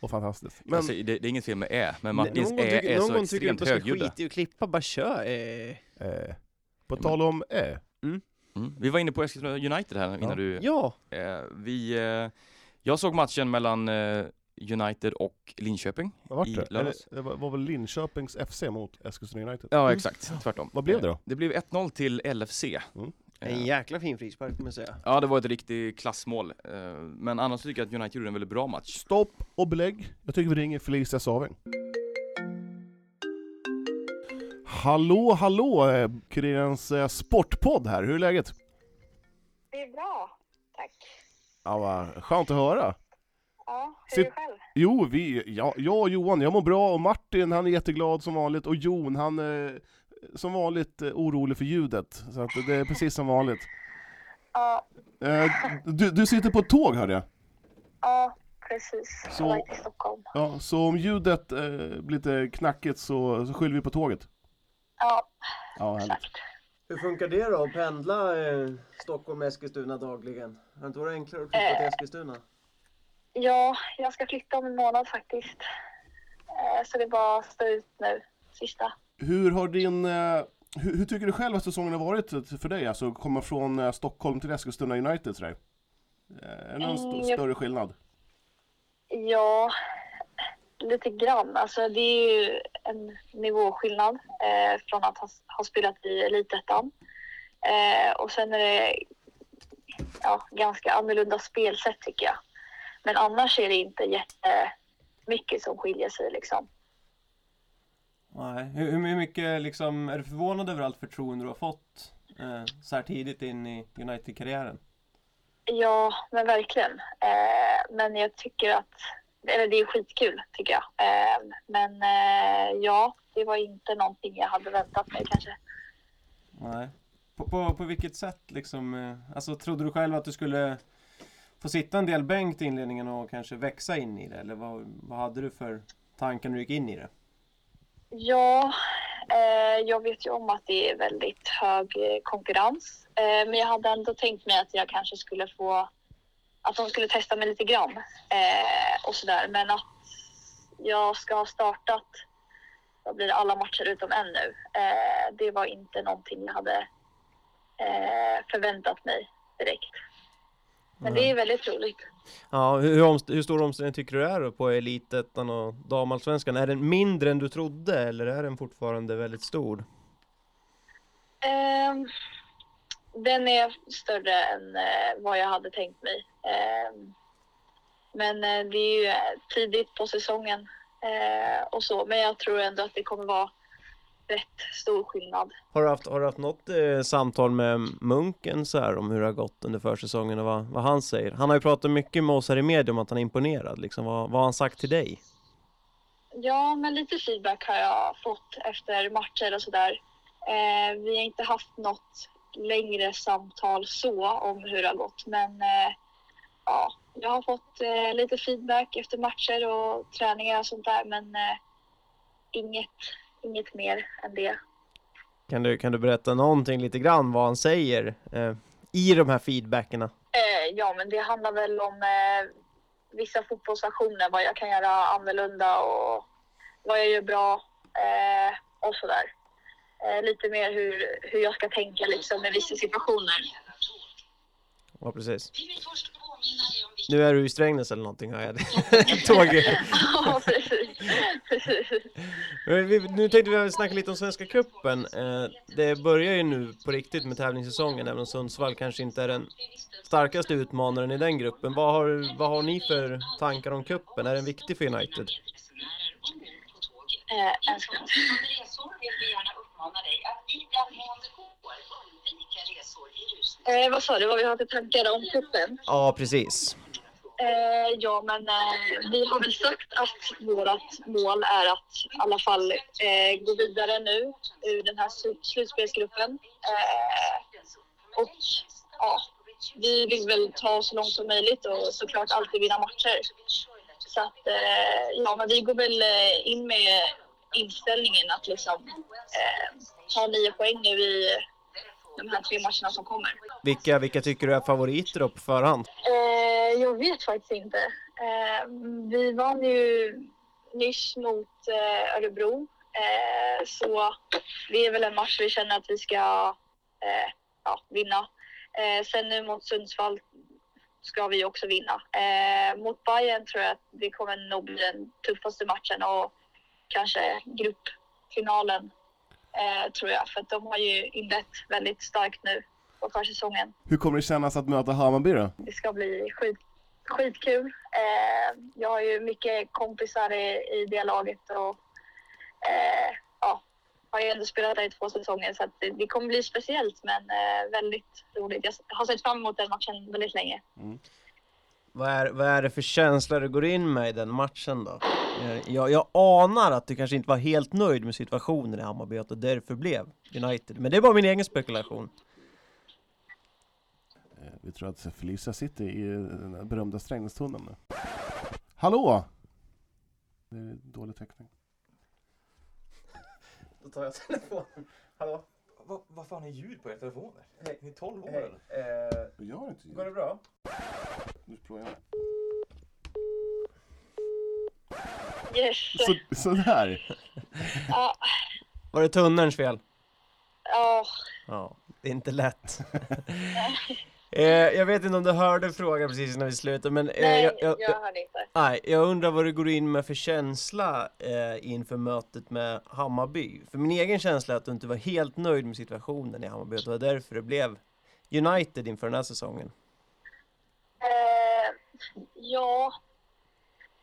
Och fantastiskt. Men, Alltså, det, det är inget fel med ä, men Martins någon ä tycker, är någon så gång tycker extremt inte att man ska högljudda. skita i att klippa, bara kör. Eh. eh, på tal om äh. Mm. Vi var inne på Eskilstuna United här innan Ja. du... Ja, Eh, vi, eh, jag såg matchen mellan eh, United och Linköping. Vad vart I det? Eller, lördags. det var, var väl Linköpings FC mot Eskilstuna United? Mm. Ja, exakt. Tvärtom. Eh, Vad blev det då? Det blev 1-0 till LFC. Mm. Eh, en jäkla fin frispark får man säga. Ja, det var ett riktigt klassmål. Eh, Men annars tycker jag att United gjorde en väldigt bra match. Stopp och belägg. Jag tycker vi ringer Felicia Saving. Hallå, hallå! eh, Kurirens eh, sportpodd här. Hur är läget? Det är bra, tack. Ja, vad skönt att höra. Ja, hur Sitt- är du själv? Jo, vi, ja, jag och Johan, jag mår bra och Martin han är jätteglad som vanligt och Jon han är som vanligt eh, orolig för ljudet. Så att det är precis som vanligt. *laughs* Ja, Eh, Du, du sitter på ett tåg hörde jag. ja precis. Så- Jag var inte i Stockholm. Ja, så om ljudet eh, blir lite knackigt så, så skyller vi på tåget. Ja, Ja, härligt. Hur funkar det då, att pendla eh, Stockholm-Eskilstuna dagligen? Har det inte varit enklare att flytta till Eskilstuna? ja, jag ska flytta om en månad faktiskt. Eh, Så det är bara att stå ut nu, sista. Hur har din... eh, Hur, hur tycker du själv att säsongen har varit för dig? Alltså komma från eh, Stockholm till Eskilstuna United sådär. Eh, Är det någon st- Mm, jag- större skillnad? Ja, lite grann. Alltså det är ju en nivåskillnad eh, från att ha, ha spelat i Elitettan. Eh, och sen är det ja, ganska annorlunda spelsätt tycker jag. Men annars är det inte jättemycket som skiljer sig liksom. Nej. Hur, hur mycket liksom, är du förvånad över allt förtroende du har fått eh, så här tidigt in i United-karriären? Ja, men verkligen. Eh, men jag tycker att, eller det är skitkul tycker jag. Eh, men eh, ja, det var inte någonting jag hade väntat mig kanske. Nej. På, på, på vilket sätt liksom? Eh, alltså trodde du själv att du skulle få sitta en del bänk till inledningen och kanske växa in i det? Eller vad, vad hade du för tankar när du gick in i det? Ja, eh, jag vet ju om att det är väldigt hög eh, konkurrens. Eh, men jag hade ändå tänkt mig att jag kanske skulle få... Att de skulle testa mig lite grann eh, och sådär. Men att jag ska ha startat vad blir det, alla matcher utom en nu. Eh, det var inte någonting jag hade eh, förväntat mig direkt. Men det är väldigt roligt. Ja, hur, omst- hur stor omställning tycker du det är då på Elitettan och Damallsvenskan? Är den mindre än du trodde eller är den fortfarande väldigt stor? Ehm, den är större än eh, vad jag hade tänkt mig. Ehm, men eh, det är ju eh, tidigt på säsongen eh, och så. Men jag tror ändå att det kommer vara rätt stor skillnad. Har du haft, har du haft något eh, samtal med Munken så här om hur det har gått under försäsongen och vad, vad han säger? Han har ju pratat mycket med oss här i media om att han är imponerad liksom. Vad, vad har han sagt till dig? Ja, men lite feedback har jag fått efter matcher och sådär. Eh, vi har inte haft något längre samtal så om hur det har gått, men eh, ja, jag har fått eh, lite feedback efter matcher och träningar och sånt där, men eh, inget, inget mer än det. Kan du, kan du berätta någonting lite grann vad han säger eh, i de här feedbackerna? Eh, ja, men det handlar väl om eh, vissa fotbollsaktioner, vad jag kan göra annorlunda och vad jag gör bra eh, och sådär. Eh, lite mer hur, hur jag ska tänka liksom i vissa situationer. Ja, precis. Nu är du i Strängnäs eller någonting hör jag. *laughs* Tåg. *laughs* Ja, precis. precis. Men vi- Nu tänkte vi snacka lite om Svenska Cupen. Eh, Det börjar ju nu på riktigt med tävlingssäsongen, även om Sundsvall kanske inte är den starkaste utmanaren i den gruppen. Vad har, vad har ni för tankar om cupen? Är den viktig för United? Eh, en sekund. Eh, vad sa du, vad vi har för tankar om cupen? Ja, precis. Eh, ja, men eh, vi har väl sagt att vårt mål är att i alla fall eh, gå vidare nu ur den här slu- slutspelsgruppen. Eh, och ja, vi vill väl ta oss så långt som möjligt och såklart alltid vinna matcher. Så att, eh, ja, men vi går väl eh, in med inställningen att liksom eh, ta nio poäng nu i de här tre matcherna som kommer. Vilka, vilka tycker du är favoriter då på förhand? Eh, jag vet faktiskt inte. Eh, vi vann ju nyss mot eh, Örebro. Eh, så det är väl en match vi känner att vi ska eh, ja, vinna. Eh, sen nu mot Sundsvall ska vi också vinna. Eh, mot Bayern tror jag att det kommer nog bli den tuffaste matchen och kanske gruppfinalen eh, tror jag. För att de har ju inlett väldigt starkt nu på försäsongen. Hur kommer det kännas att möta Hammarby då? Det ska bli skit, skitkul. Eh, jag har ju mycket kompisar i, i det laget och eh, ja, har ju ändå spelat där i två säsonger så att det, det kommer bli speciellt men eh, väldigt roligt. Jag s- har sett fram emot den matchen väldigt länge. Vad är, vad är det för känsla du går in med i den matchen då? Eh, Jag, jag anar att du kanske inte var helt nöjd med situationen i Hammarby och att det därför blev United. Men det är bara min egen spekulation. Eh, Vi tror att Felicia sitter i eh, den där berömda Strängnästunneln nu. Hallå! Det är dålig täckning. Då tar jag telefonen. Hallå? Vad fan är ljud på era telefoner? Ni är 12 år Hej. Eh, Jag har inte ljud. går det bra? Nu provar jag. Yes. Så, sådär. Ja, Var det tunnelns fel? ja, Ja, det är inte lätt. *laughs* eh, jag vet inte om du hörde frågan precis när vi slutade, men... Eh, nej, jag, jag, hörde inte. nej, jag undrar vad du går in med för känsla eh, inför mötet med Hammarby. För min egen känsla är att du inte var helt nöjd med situationen i Hammarby, och det var därför det blev United inför den här säsongen. Eh, ja,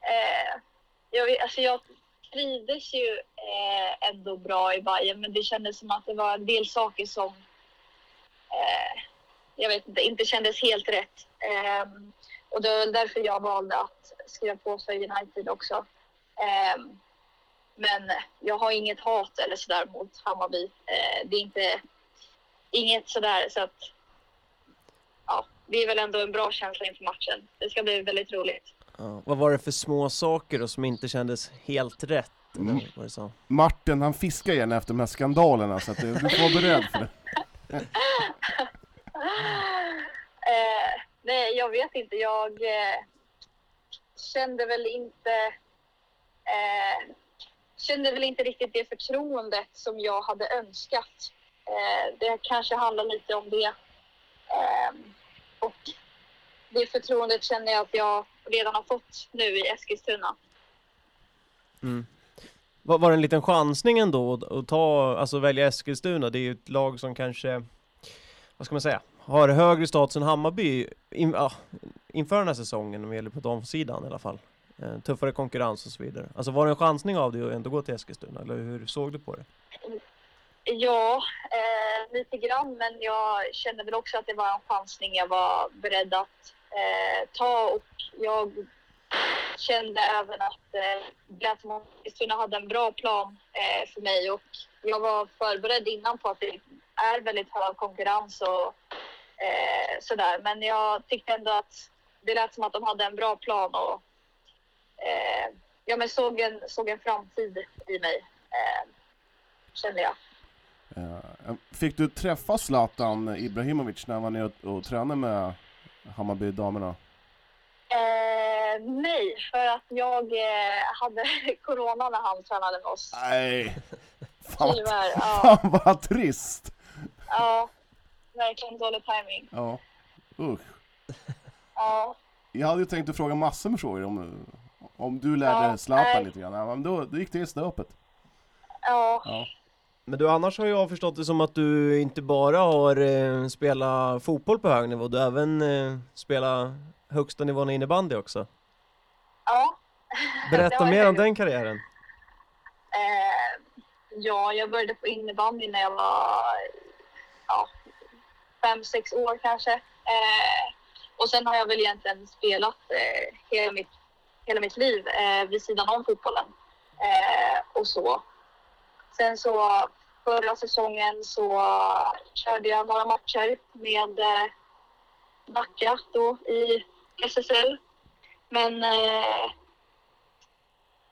eh, jag, vet- alltså jag trivdes ju eh, ändå bra i Bayern men det kändes som att det var en del saker som eh, jag vet inte, inte kändes helt rätt. Ehm, och det var väl därför jag valde att skriva på för United också. Ehm, men jag har inget hat eller sådär mot Hammarby. Eh, det är inte, inget sådär så att ja, det är väl ändå en bra känsla inför matchen. Det ska bli väldigt roligt. *laughs* Ja. Vad var det för små saker då som inte kändes helt rätt? eller Mm. vad det sa? Martin han fiskar gärna efter de här skandalerna så att du du får vara beredd för det. Eh, nej, jag vet inte. Jag eh, kände väl inte... Eh, kände väl inte riktigt det förtroendet som jag hade önskat. Eh, det kanske handlar lite om det. Eh, och det förtroendet känner jag att jag redan har fått nu i Eskilstuna. Mm. Var, var det en liten chansning ändå att, att ta, alltså välja Eskilstuna? Det är ju ett lag som kanske, vad ska man säga, har högre status än Hammarby in, ja, inför den här säsongen, om det gäller på damsidan i alla fall. Eh, tuffare konkurrens och så vidare. Alltså var det en chansning av dig att ändå gå till Eskilstuna, eller hur såg du på det? Ja, eh, lite grann, men jag kände väl också att det var en chansning jag var beredd att eh, ta och jag kände även att eh, Glädjemålskristuna hade en bra plan eh, för mig och jag var förberedd innan på att det är väldigt hög konkurrens och eh, sådär. Men jag tyckte ändå att det lät som att de hade en bra plan och eh, ja, men såg, en, såg en framtid i mig, eh, kände jag. Eh, Fick du träffa Zlatan Ibrahimovic när han var nere och, och tränade med Hammarby damerna? Eh, nej, för att jag eh, hade *laughs* corona när han tränade med oss. Nej! Fan vad, Tyvärr, ja. fan vad trist! ja, verkligen dålig timing. Ja, usch. Ja, Jag hade ju tänkt att fråga massor med frågor om, om du lärde Ja, Zlatan nej. lite grann, Ja, men då, då gick det i stöpet. ja. Men du, annars har jag förstått det som att du inte bara har eh, spelat fotboll på hög nivå, du har även eh, spelat högsta nivån i innebandy också. ja. Det Berätta har mer jag om den karriären. Eh, ja, jag började på innebandy när jag var ja, fem, sex år kanske. Eh, och sen har jag väl egentligen spelat eh, hela, mitt, hela mitt liv eh, vid sidan om fotbollen. Eh, och så. Sen så förra säsongen så körde jag några matcher med eh, Nacka då i SSL. Men eh,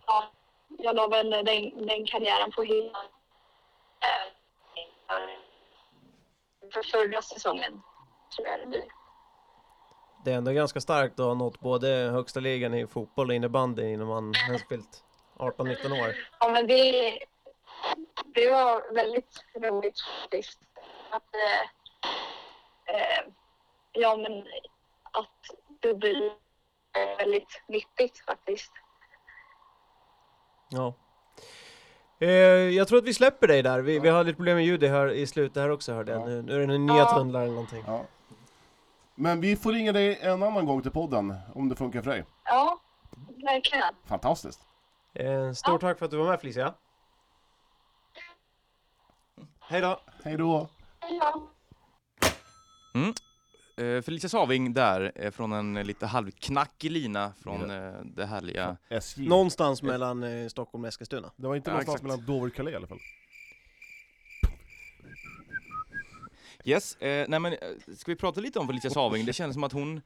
ja, jag la väl den, den karriären på hyllan eh, för- för förra säsongen, tror jag det blir. Det är ändå ganska starkt att ha nått både högsta ligan i fotboll och innebandy innan man har spelat 18-19 år. Ja, men det, det var väldigt roligt faktiskt. Att, eh, eh, ja, men att det blir eh, väldigt nyttigt faktiskt. Ja. Eh, jag tror att vi släpper dig där. Vi, vi har lite problem med ljudet här i slutet här också hörde jag. Nu, nu är det en nedtunnlar eller någonting. Ja. Men vi får ringa dig en annan gång till podden, om det funkar för dig. Ja, verkligen. Fantastiskt! Eh, stort tack för att du var med Felicia. Hej då! Hej då! Ja. Mm. Eh, Felicia Saving där, eh, från en eh, lite halvknackig lina från eh, det härliga... SJ. Någonstans mellan eh, Stockholm och Eskilstuna. Det var inte Ja, någonstans exakt. mellan Dover och Calais i alla fall. Yes, eh, nej men eh, ska vi prata lite om Felicia Saving? Det känns som att hon,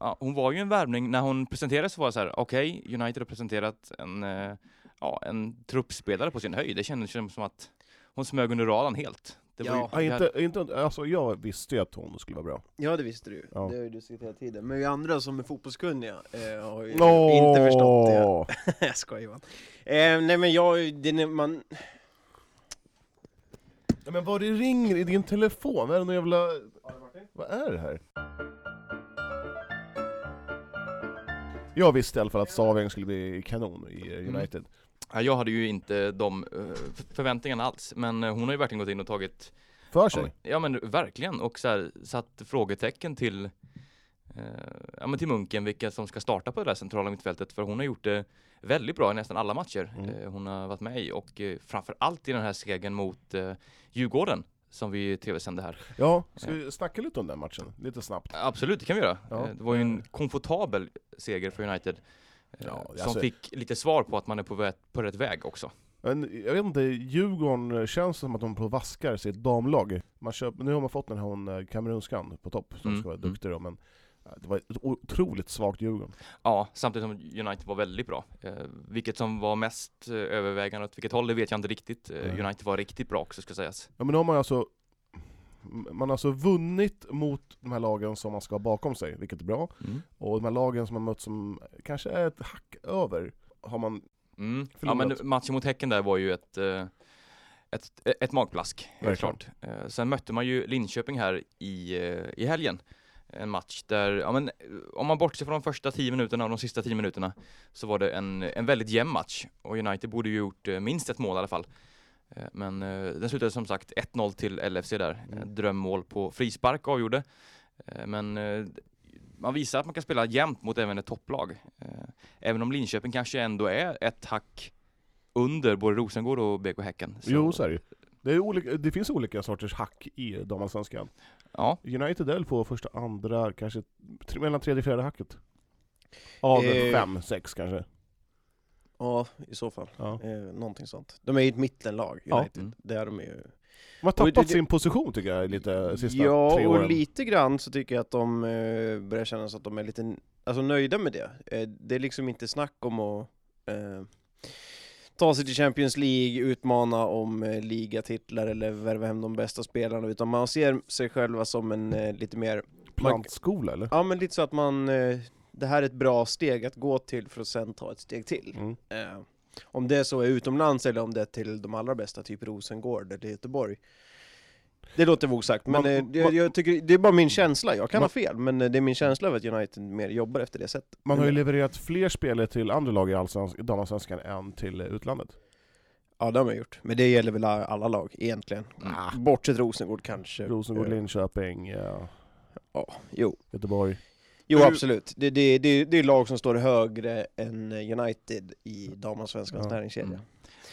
ja, hon var ju en värvning, när hon presenterades så var det så här, okej, United har presenterat en, eh, ja, en truppspelare på sin höjd. Det kändes ju som att hon smög under radarn helt. Det var ja, ju, inte, inte, alltså jag visste ju att hon skulle vara bra. Ja det visste du ju. Ja. Det har ju du sett hela tiden. Men vi andra som är fotbollskunniga eh, har ju Nå. inte förstått *laughs* det. *laughs* jag skojar Johan. Eh, nej men jag, det, är när man, Ja, men vad det ringer i din telefon, vad är det någon jävla... Vad är det här? Jag visste i alla fall att Saving skulle bli kanon i Mm. eh, United. ja, jag hade ju inte de eh, f- förväntningarna alls, men eh, hon har ju verkligen gått in och tagit För Ja sig. men, ja men verkligen, och så här, satt frågetecken till, eh, ja, men till Munken vilka som ska starta på det där centrala mittfältet. För hon har gjort det väldigt bra i nästan alla matcher eh, hon har varit med i. Och eh, framförallt i den här segern mot eh, Djurgården som vi tv-sände här. Ja, ska vi snacka lite om den matchen? Lite snabbt. Absolut, det kan vi göra. Ja. Eh, det var ju en komfortabel seger för United. eh, alltså- Som fick lite svar på att man är på, vä- på rätt väg också. Men jag vet inte, Djurgården eh, känns som att de provaskar sitt damlag. Man köper, nu har man fått den här hon eh, kamerunskan på topp, som Mm, ska vara mm. duktig då, men eh, det var ett otroligt svagt Djurgården. Ja, samtidigt som United var väldigt bra. Eh, vilket som var mest eh, övervägande åt vilket håll, det vet jag inte riktigt. Eh, Nej. United var riktigt bra också ska sägas. Ja men då har man ju alltså man har alltså vunnit mot de här lagen som man ska ha bakom sig, vilket är bra. Mm. Och de här lagen som man mött som kanske är ett hack över, har man... Mm. Ja Förlorat. men matchen mot Häcken där var ju ett, eh, ett, ett magplask, helt Verkligen. klart. Eh, Sen mötte man ju Linköping här i, eh, i helgen. En match där, ja men eh, om man bortser från de första 10 minuterna och de sista 10 minuterna så var det en, en väldigt jämn match och United borde ju gjort eh, minst ett mål i alla fall. Eh, Men eh, den slutade som sagt 1-0 till LFC där. Eh, Mm. Drömmål på frispark avgjorde. Eh, Men eh, man visar att man kan spela jämnt mot även ett topplag. Eh, Även om Linköping kanske ändå är ett hack under både Rosengård och BK Häcken. Jo, så är det ju. Det, är olika, det finns olika sorters hack i damallsvenskan. Ja. United är på första, andra, kanske tre, mellan tredje och fjärde hacket. Av Eh. fem, sex kanske. Ja, i så fall. Ja. Eh, någonting sånt. De är ju ett mittenlag, Ja. Mm. United. Mm. Det är de ju. De har Och det- tappat det- sin position tycker jag lite eh, sista tre Ja, åren. och lite grann så tycker jag att de eh, börjar känna så att de är lite alltså, nöjda med det. Eh, det är liksom inte snack om att eh, ta sig till Champions League, utmana om eh, ligatitlar eller värva hem de bästa spelarna, utan man ser sig själva som en eh, lite mer... Plantskola eller? Ja, men lite så att man... Eh, det här är ett bra steg att gå till för att sen ta ett steg till. Mm. Eh, om det så är utomlands eller om det är till de allra bästa, typ Rosengård eller Göteborg. Det låter vara osagt, men Man- eh, jag, man- jag tycker, det är bara min känsla, jag kan Man- ha fel, men eh, det är min känsla av att United mer jobbar efter det sättet. Man har ju Eller- levererat fler spelare till andra lag i allsvensk- damallsvenskan än till eh, utlandet. Ja det har man gjort, men det gäller väl alla lag egentligen. Bortsett Rosengård kanske. Ah. Rosengård, Eh, Linköping, ja. Ja, jo. Göteborg. Jo absolut, det, det, det, det är lag som står högre än United i damallsvenskans Ja. näringskedja. Mm.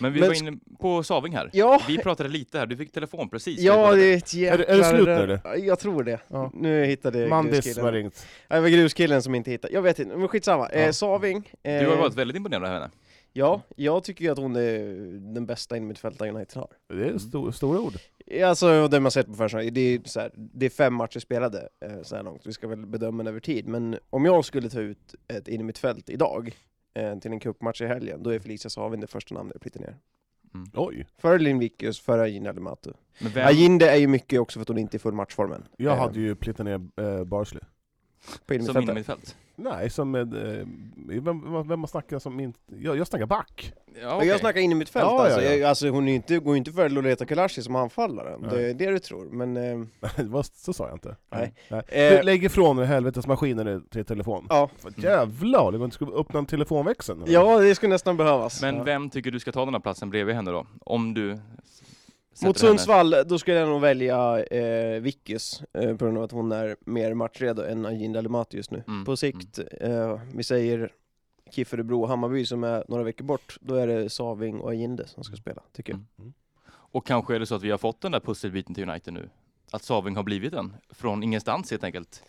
Men vi Men var sk- inne på Saving här. Ja. Vi pratade lite här, du fick telefon precis. Ja, det är ett jäkla... Är det- är det slut nu, eller? Ja, Jag tror det. Nu hittade Mandis gruskillen. var ringt. Ja, Det var gruskillen som inte hittade. Jag vet inte, men skitsamma. Ja. Eh, Saving. Eh, Du har varit väldigt imponerad av henne. Ja, jag tycker ju att hon är den bästa innermittfältaren United har. Det är Mm. sto- stora ord. Alltså det man sett på försäsongen, det är, så här, det är fem matcher spelade eh, så här långt, vi ska väl bedöma den över tid, men om jag skulle ta ut ett in i mitt fält idag eh, till en cupmatch i helgen, då är Felicia Savin det första namnet jag plitar ner. Oj. Före Lindvikius, före Ajinde Alimatu. Men vem- Ajinde är ju mycket också för att hon inte är i full matchformen. Jag Eh, hade ju plittat ner eh, Barsley. på Som innermittfältet. innermittfält. Nej, som med, eh, vem, vem- vem har snackat som min... Jag, jag snackar back. *laughs* Ja, Jag snackar in i mitt fält Ja, alltså. ja, ja. Jag, alltså hon är ju inte, går ju inte för Loleta Kulashi som anfallaren, Nej. det är det du tror. Men eh, det var, så sa jag inte. Nej. Du, Eh, Lägg ifrån dig helvetesmaskinen nu till telefon. ja. Jävlar, det var inte- ska vi öppna en telefonväxel? eller? ja, det skulle nästan behövas. Men ja. vem tycker du ska ta den här platsen bredvid henne då? Om du s- sätter Mot henne- Sundsvall, då skulle jag nog välja eh, Vickis, eh, på grund av att hon är mer matchredo än Ajinda Alimati just nu. Mm, På sikt, eh, vi säger KIF Örebro och Hammarby som är några veckor bort, då är det Saving och Ajinde som ska spela, tycker Mm. jag. Och kanske är det så att vi har fått den där pusselbiten till United nu. Att Saving har blivit den. Från ingenstans helt enkelt.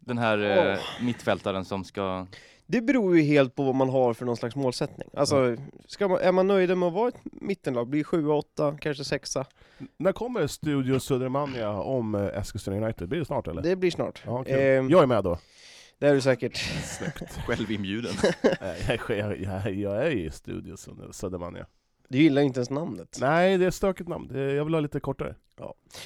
Den här eh, mittfältaren som ska... Det beror ju helt på vad man har för någon slags målsättning. Alltså, ska man, är man nöjd med att vara ett mittenlag, bli sjua, åtta, kanske sexa? När kommer Studio Södermania om eh, Eskilstuna United? Blir det snart eller? Det blir snart. Ja, kul. Ehm, jag är med då. *laughs* Det är du säkert. *laughs* Självinbjuden. Nej, jag, jag, jag, jag är i Studio Söder- Södermania. Du gillar inte ens namnet. Nej, det är ett stökigt namn. Det- Jag vill ha lite kortare.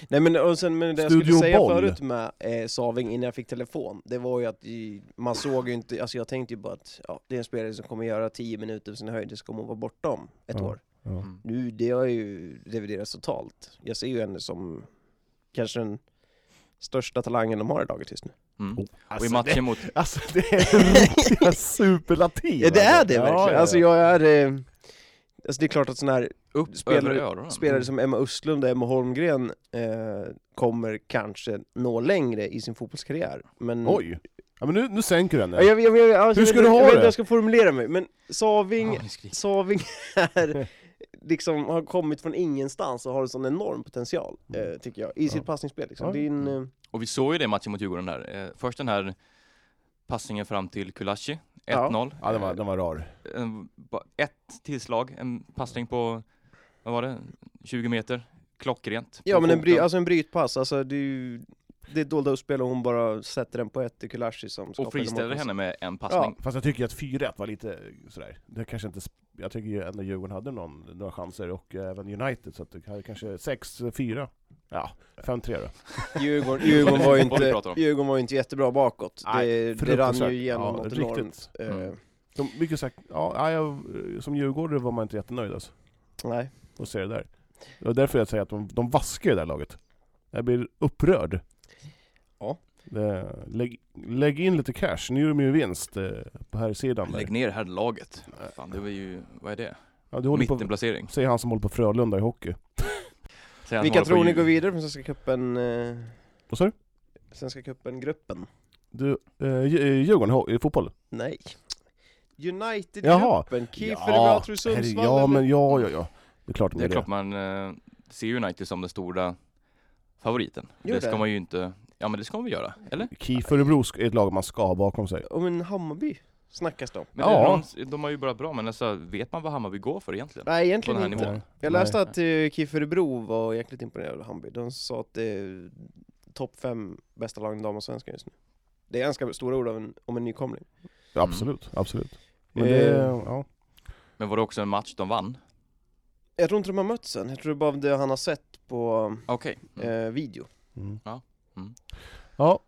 Nej men, och sen, men det jag Studio skulle säga Boll. förut med eh, Saving innan jag fick telefon, det var ju att i- man såg ju inte, alltså jag tänkte ju bara att ja, det är en spelare som kommer göra 10 minuter på sin höjd, så kommer hon vara borta om ett Ja, år. ja. Mm. Nu, det har ju reviderats totalt. Jag ser ju henne som kanske den största talangen de har i laget just nu. Mm. Och i Alltså, matchen det- mot... Alltså det *laughs* är riktiga superlativ! Ja det är det Ja, verkligen! ja, ja. Alltså jag är... Eh, alltså det är klart att sådana här Upp över spelare, öronen. spelare som Emma Östlund och Emma Holmgren eh, kommer kanske nå längre i sin fotbollskarriär. Men Oj! Mm. Ja, men nu, nu sänker du Ja, henne. jag, jag, jag, jag, Hur ska jag, du jag, ha jag, vet inte det? hur jag ska formulera mig, men Saving, Ja, ni skriker. Saving är, liksom, har kommit från ingenstans och har en sån enorm potential, eh, tycker jag, i sitt passningsspel. Liksom. Ja. Det är en, eh, Och vi såg ju det i matchen mot Djurgården där. Eh, först den här passningen fram till Kulashi, 1-0. Ja, den var, den var rar. Eh, en- ba- ett tillslag, en passning på, vad var det, 20 meter. Klockrent. ja På men en, bry, foten. alltså en brytpass, alltså det är ju det är ett dolda uppspel och hon bara sätter den på ett i Kulashi som skapar och friställer målet. henne med en passning. Fast jag tycker att 4-1 var lite eh, sådär, det kanske inte, sp- jag tycker ju ändå Djurgården hade någon, några chanser och eh, även United så att det här kanske 6-4, ja 5-3 då. Djurgården, Djurgården, var ju Vad vi inte, pratar om. Djurgården var ju inte jättebra bakåt, det, det rann fruktansvärt. ju igenom Ja, något riktigt. enormt. Eh, Mm. De, mycket sagt, ja, nej, jag, som djurgårdare var man inte jättenöjd alltså, Nej. att se det där. Det var därför jag säger att de, de vaskar det där laget. Jag blir upprörd. Ja. Det, lägg, lägg in lite cash, nu är de ju i vinst eh, på här sidan där. Lägg ner det här laget. Fan, det var ju, vad är det? Ja, du håller på, Mittenplacering. säger han som håller på Frölunda i hockey. Säger han som Vilka håller på tror ni Djur- går vidare från Svenska cupen, eh, Vad sa du? Svenska cupen-gruppen? Du, eh, Dju- Djurgården i ho- i fotboll? Nej. United-gruppen, Jaha. Kiff ja. Örebro, Sundsvall herre, Ja, eller- men ja, ja, ja. Det är klart de Det är är klart det. man eh, ser United som den stora favoriten. Gör det ska det? man ju inte, ja men det ska man väl göra, eller? KIF Örebro sk- är ett lag man ska ha bakom sig. Och men Hammarby snackas det om. Men ja. de, de har ju bara bra, men alltså, vet man vad Hammarby går för egentligen? Nej egentligen På den här inte. nivån. Jag läste att eh, KIF Örebro var jäkligt imponerade av Hammarby. De sa att det är topp fem bästa lagen i damallsvenskan just nu. Det är ganska stora ord av en, om en nykomling. Ja, absolut, absolut. Men det, Eh, ja. Men var det också en match de vann? Jag tror inte de har mötts än, jag tror bara det han har sett på Okej. eh, video. Mm. Ja. ja.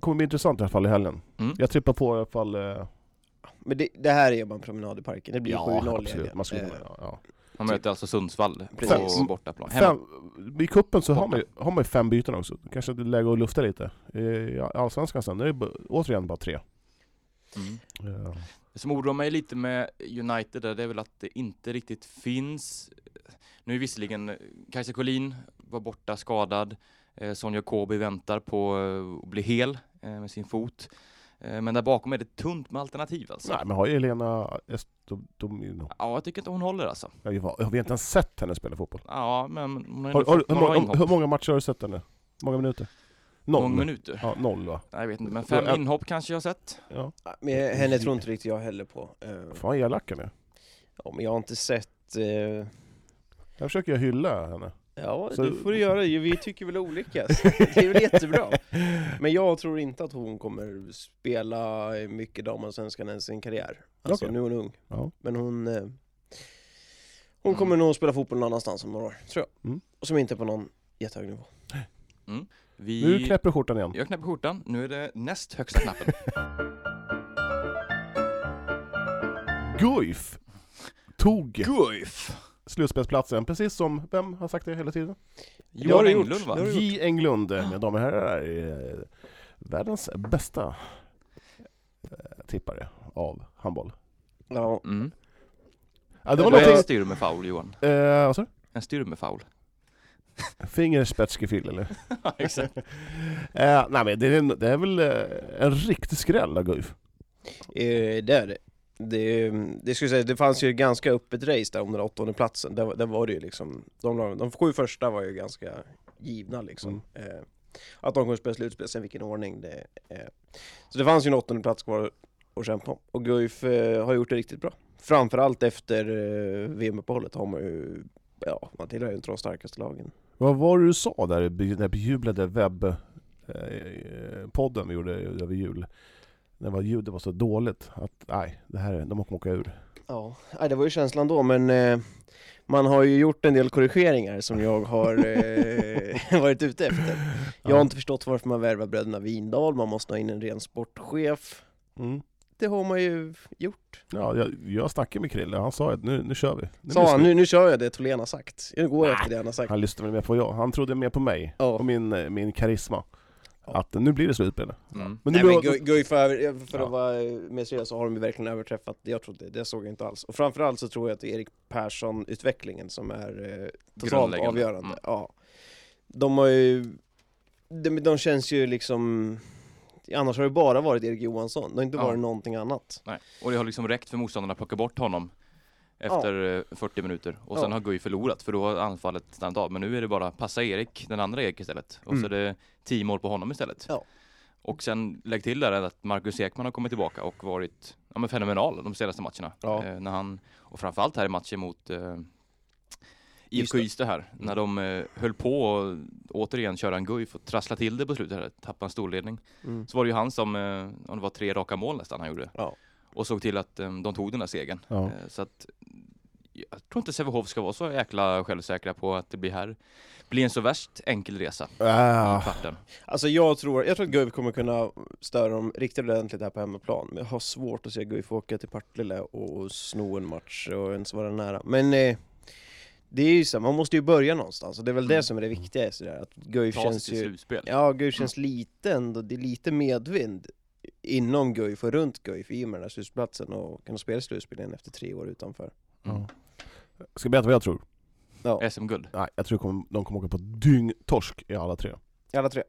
Kommer bli intressant i alla fall i helgen. Mm. Jag trippar på i alla fall... Eh, Men det, det här är bara en promenad i parken, det blir Ja, 7-0 absolut. lediga. Man skulle Eh, kunna- ja. Man möter alltså Sundsvall på Fem- bortaplan. Fem, Hemma. I cupen så har man, ju- har man ju fem byten också. Kanske det är läge att lufta lite. I i Allsvenskan sen, det är det bara- återigen bara tre. Mm. Ja. Det som oroar mig lite med United där, det är väl att det inte riktigt finns. Nu är visserligen Kajsa Collin var borta skadad. Eh, Sonja Kobi väntar på eh, att bli hel eh, med sin fot. Eh, men där bakom är det tunt med alternativ alltså. Nej men har ju Elena Estomino... Ja, jag tycker inte hon håller alltså. Jag har jag har inte ens sett henne spela fotboll. Ja, men hon har, Har, har, hur, hon har många, inhopp. hur många matcher har du sett henne? Hur många minuter? Noll? Många minuter? Ja, noll va? Nej, jag vet inte, men fem Ja, inhopp kanske jag har sett. Ja. Men henne tror inte riktigt jag heller på. Eh, Fan vad elak han är. ja, men jag har inte sett... eh, Jag försöker jag hylla henne. Ja, Så- det får du göra. Ju, Vi tycker väl olika. så Det är väl *laughs* jättebra. Men jag tror inte att hon kommer spela mycket damallsvenskan ens i sin karriär. Alltså, Okej. nu är hon ung. Ja. Men hon... eh, Hon kommer nog spela fotboll någon annanstans om några år, tror jag. Mm. Och som inte är på någon jättehög nivå. Vi... Nu knäpper du skjortan igen. Jag knäpper skjortan, nu är det näst högsta knappen. Guif tog Guif! slutspelsplatsen, precis som, vem har sagt det hela tiden? Johan Det har du gjort. Englund, va? Ah. Det har du J Englund, mina damer och herrar, är eh, världens bästa eh, tippare av handboll. Ja. Mm. Ja, det var Du är en någonting... styr med foul Johan. Eh, vad sa du? En styr med foul. Fingerspetsgefühl eller? *laughs* Ja, Exakt. *laughs* Eh, nej men det är, det är väl eh, en riktig skräll av Guif. Eh, det är det. Det, det, skulle jag säga, det fanns ju ett ganska öppet race där om den där åttonde platsen. Där, där var det ju liksom, de, lagen- de sju första var ju ganska givna liksom. Eh, att de kommer spela slutspel, sen vilken ordning det är. Så det fanns ju en åttonde plats kvar att kämpa om. Och Guif eh, har gjort det riktigt bra. Framförallt efter eh, VM-uppehållet har man ju, ja man tillhör ju inte de starkaste lagen. Vad var det du sa där i be- den där bejublade webbpodden eh, vi gjorde över jul? När det var ljudet var så dåligt att nej, det här, är- de kommer åka ur. Ja, nej, det var ju känslan då men eh, man har ju gjort en del korrigeringar som jag har eh, *laughs* varit ute efter. Jag har inte förstått varför man värvar bröderna Vindal, man måste ha in en ren sportchef. Mm. Det har man ju gjort. Ja, jag, jag snackade med Krille, han sa att nu, nu kör vi. Nu Sa han, lyssnar vi. nu, nu kör jag det Tholén har sagt. Nu går jag efter det han har sagt. Han lyssnade väl mer på jag, han trodde mer på mig Ja. och min, eh, min karisma. Att nu blir det slutspel. Mm. Men nu Nej men blir- Gu- Guif, över- för Ja. att vara eh, mer seriös, så har de ju verkligen överträffat det jag trodde. Det såg jag inte alls. Och framförallt så tror jag att det är Erik Persson-utvecklingen som är eh, totalt Grundläggande. avgörande. Mm. Ja. De har ju... De, de känns ju liksom... Annars har det bara varit Erik Johansson, det har inte Ja. varit någonting annat. Nej. Och det har liksom räckt för motståndarna att plocka bort honom efter eh, 40 minuter. Och sen Ja. har Guif förlorat för då har anfallet stannat av. Men nu är det bara passa Erik, den andra Erik istället. Och så är Mm. det 10 mål på honom istället. Ja. Och sen lägg till där att Marcus Ekman har kommit tillbaka och varit ja, men fenomenal de senaste matcherna. Ja. Eh, när han, och framförallt här i matchen mot eh, Just IFK det. Ystad här. Mm. När de eh, höll på och återigen köra en Guif och trassla till det på slutet här, tappa en storledning. Mm. Så var det ju han som, eh, om det var tre raka mål nästan han gjorde. Ja. Och såg till att eh, de tog den där segern. Ja. Eh, så att jag tror inte Sävehof ska vara så jäkla självsäkra på att det blir här. Blir en så värst enkel resa i Ah, kvarten. Alltså jag tror, jag tror att Guif kommer kunna störa dem riktigt ordentligt här på hemmaplan, men jag har svårt att se Guif åka till Partille och sno en match och ens vara nära. Men eh, det är ju så, här, man måste ju börja någonstans och det är väl det som är det viktiga i sådär, att Guif Ta sig känns till ju... slutspel. Ja, Guif känns lite ändå, det är lite medvind inom Guif och runt Guif i och med den här slutspelsplatsen och kunna spela i slutspel igen efter tre år utanför. Mm. ska jag berätta vad jag tror? Ja, SM-guld. Nej, jag tror kommer- de kommer åka på dyngtorsk i alla tre. alla tre.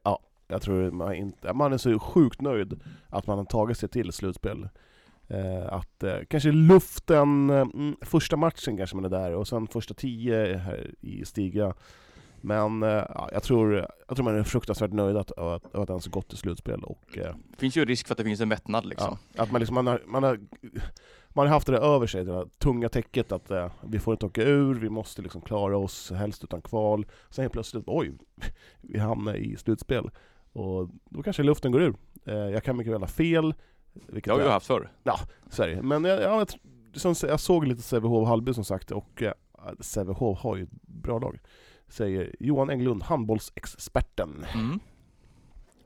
Jag tror man, inte, man är så sjukt nöjd att man har tagit sig till slutspel. Eh, att eh, kanske luften, eh, mm, första matchen kanske man är där och sen första tio här i Stiga. Men eh, ja, jag, tror, jag tror man är fruktansvärt nöjd att, att, att ens gått till slutspel och eh, finns ju risk för att det finns en mättnad liksom. Ja, att man liksom, man har, man har, man har haft det där över sig, det där tunga täcket att eh, vi får inte åka ur, vi måste liksom klara oss, helst utan kval. Sen helt plötsligt, oj, vi hamnar i slutspel. Och då kanske luften går ur. Eh, jag kan mycket väl ha fel. vilket Det har vi jag- ju haft förr. Ja, så är det. Men jag, jag, vet- som, jag såg lite Sävehof och Hallby som sagt, och eh, Sävehof har ju ett bra lag. Säger Johan Englund, handbollsexperten. Mm.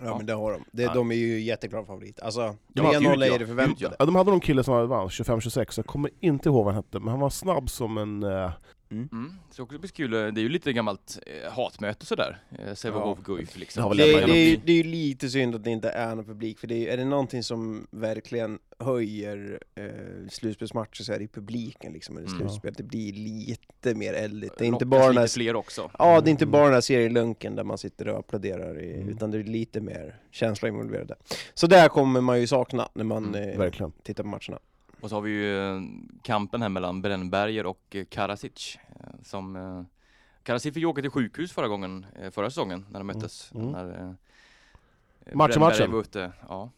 Ja, men det har de. Det, Ja. De är ju jätteklara favorit. Alltså, De hade- 3-0 är Gud, det ja. förväntade. Ja, de hade någon kille som vann 25-26, jag kommer inte ihåg vad han hette, men han var snabb som en... eh, Mm. Så också blir kul, eh, det är ju lite gammalt eh, hatmöte sådär, eh, Sävehof Guif liksom. Det, det, är ju, det är ju lite synd att det inte är någon publik, för det är, är det någonting som verkligen höjer eh, slutspelsmatcher så är det ju publiken liksom, eller Mm. slutspel. Det blir lite mer eldigt. Det är inte Lockas bara den lite här, fler också. Ja, det är inte bara den här serielunken där man sitter och applåderar, i, Mm. utan det är lite mer känsla involverade. Så där kommer man ju sakna när Mm, man eh, verkligen. tittar på matcherna. Och så har vi ju eh, kampen här mellan Brännberger och eh, Karasic. eh, Som, eh, Karasic fick ju åka till sjukhus förra gången, eh, förra säsongen när de möttes. Mm. När, eh, eh, Match i matchen. Brännberger var ute, ja.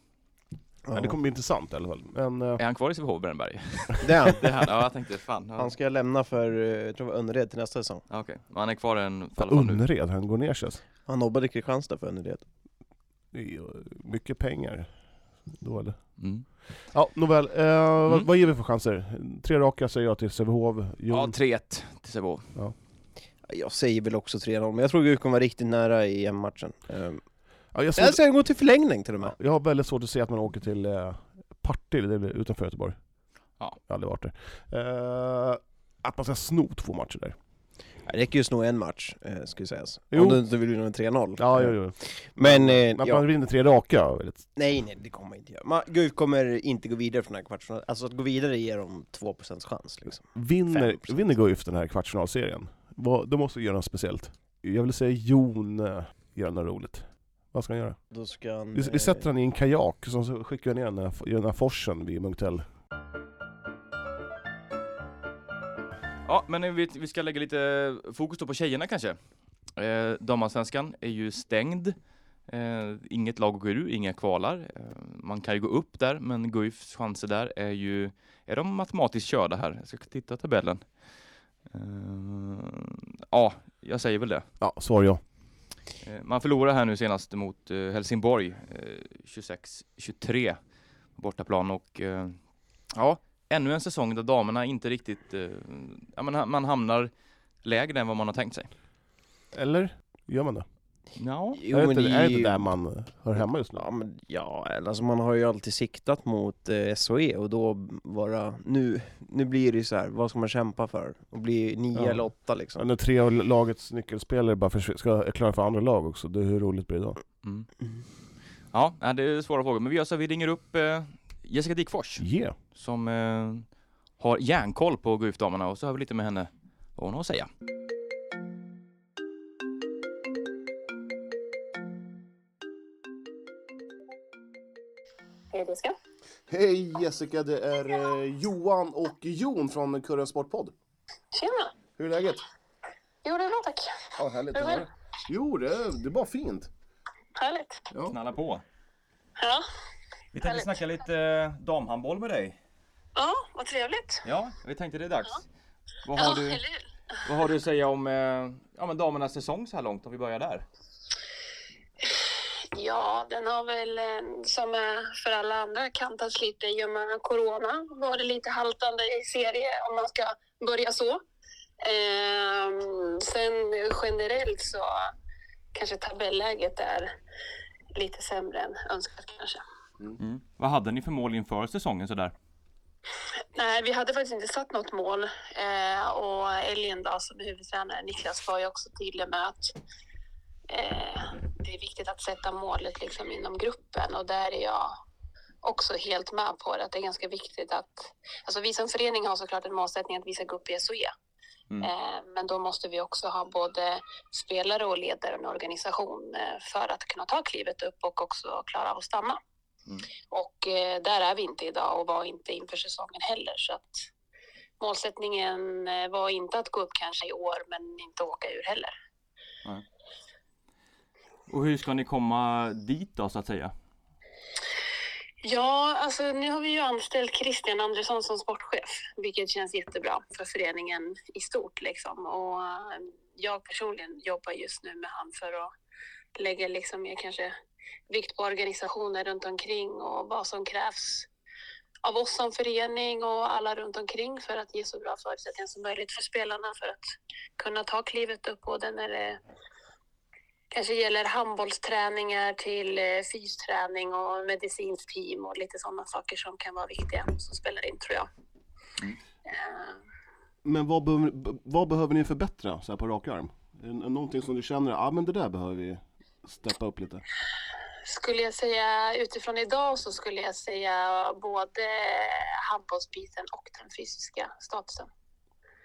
Ja. Det kommer bli intressant i alla fall. Men, eh, Är han kvar i Sävehof, Brännberg? Det är han. *laughs* det är han, ja jag tänkte fan. Ja. Han ska jag lämna för, eh, jag tror det var Önnered till nästa säsong. Ja, Okej, Men han är kvar en fall fall nu. Unred, han går ner sig. alltså. Han nobbade Kristianstad för Önnered. Det är ju Mycket pengar. Då eller? Mm. Ja, nåväl. Eh, vad, vad ger vi för chanser? Tre raka säger jag till Sävehof. Ja, Jon. 3-1 till Sävehof. Ja. Jag säger väl också 3-0, men jag tror GUK kommer vara riktigt nära i EM-matchen. Ehm, Ja, jag, Jag såg, ska gå till förlängning till och med. jag har väldigt svårt att se att man åker till eh, Partille, det är väl utanför Göteborg. Ja. Jag har aldrig varit där. Eh, att man ska sno två matcher där. Det räcker ju att sno en match, eh, ska ju sägas. Jo. Om du inte vill vinna med 3-0. Ja, jo, jo. Men, eh, Men att ja. man vinner tre raka. är väldigt- Nej, nej, det kommer man inte göra. Man, GUK kommer inte gå vidare från den här kvartsfinalen. Alltså att gå vidare ger dem 2% chans liksom. Vinner, vinner Guif den här kvartsfinalserien, vad, då måste vi göra något speciellt. Jag vill säga Jon eh, gör något roligt. Vad ska han göra? Då ska han... eh, Vi, vi sätter han i en kajak, så så skickar vi ner den här, i den här forsen vid Munktell. Ja, men eh, vi, vi ska lägga lite eh, fokus då på tjejerna kanske. Eh, Damallsvenskan är ju stängd. Eh, inget lag går ur, inga kvalar. Eh, man kan ju gå upp där, men Guifs chanser där är ju... Är de matematiskt körda här? Jag ska titta tabellen. Eh, ja, jag säger väl det. Ja, svar ja. Eh, Man förlorade här nu senast mot eh, Helsingborg eh, 26-23 på bortaplan och eh, ja, ännu en säsong där damerna inte riktigt, eh, ja, man, ha- man hamnar lägre än vad man har tänkt sig. Eller? Gör man det? Ja, Jo, är, det men inte, det är är det ju- inte där man hör hemma just nu? Ja, men ja, eller alltså man har ju alltid siktat mot eh, SOE och då vara... Nu, nu blir det ju så här, vad ska man kämpa för? Och bli nio Ja. eller åtta liksom. Ja, När tre av lagets nyckelspelare bara försvin- ska är klara för andra lag också, det, hur roligt blir det då? Mm. Ja, nej, det är svåra frågor, men vi gör så här, vi ringer upp eh, Jessica Dickfors Yeah. som eh, har järnkoll på Guif damerna och så hör vi lite med henne vad hon har att säga. Hej Jessica. Hej Jessica, det är eh, Johan och Jon från Kurren Sportpodd. Tjena. Hur är läget? Jo, det är bra tack. Ja, härligt Hur är det? Jo, det är, det är bara fint. Härligt. Knalla på. Ja, Vi tänkte snacka lite eh, damhandboll med dig. ja vad trevligt. Ja, vi tänkte det är dags. Vad ja, har du, eller hur? vad har du att säga om eh, ja, men damernas säsong så här långt, om vi börjar där? Ja, den har väl eh, som eh, för alla andra kantats lite i och med corona. Var det lite haltande i serie om man ska börja så. Ehm, sen generellt så kanske tabelläget är lite sämre än önskat kanske. Mm. Vad hade ni för mål inför säsongen sådär? Nej, vi hade faktiskt inte satt något mål. Eh, och Elin då, som är huvudtränare, Niklas var ju också tydlig med att eh, det är viktigt att sätta målet liksom inom gruppen och där är jag också helt med på det. Att det är ganska viktigt att... Alltså vi som förening har såklart en målsättning att vi ska gå upp i SOE. Eh, men då måste vi också ha både spelare och ledare och en organisation eh, för att kunna ta klivet upp och också klara av att stanna. Och eh, där är vi inte idag och var inte inför säsongen heller. Så att målsättningen eh, var inte att gå upp kanske i år, men inte åka ur heller. Och hur ska ni komma dit då så att säga? Ja, alltså nu har vi ju anställt Christian Andersson som sportchef, vilket känns jättebra för föreningen i stort liksom. Och eh, jag personligen jobbar just nu med han för att lägga liksom mer kanske vikt på organisationer runt omkring och vad som krävs av oss som förening och alla runt omkring för att ge så bra förutsättningar som möjligt för spelarna för att kunna ta klivet upp både när det kanske gäller handbollsträningar till eh, fysträning och medicinskt team och lite sådana saker som kan vara viktiga som spelar in tror jag. Eh, Men vad, be- b- vad behöver ni förbättra så här på rak arm? Är det n- någonting som du känner, ja ah, men det där behöver vi steppa upp lite? Skulle jag säga utifrån idag så skulle jag säga både handbollsbiten och den fysiska statusen.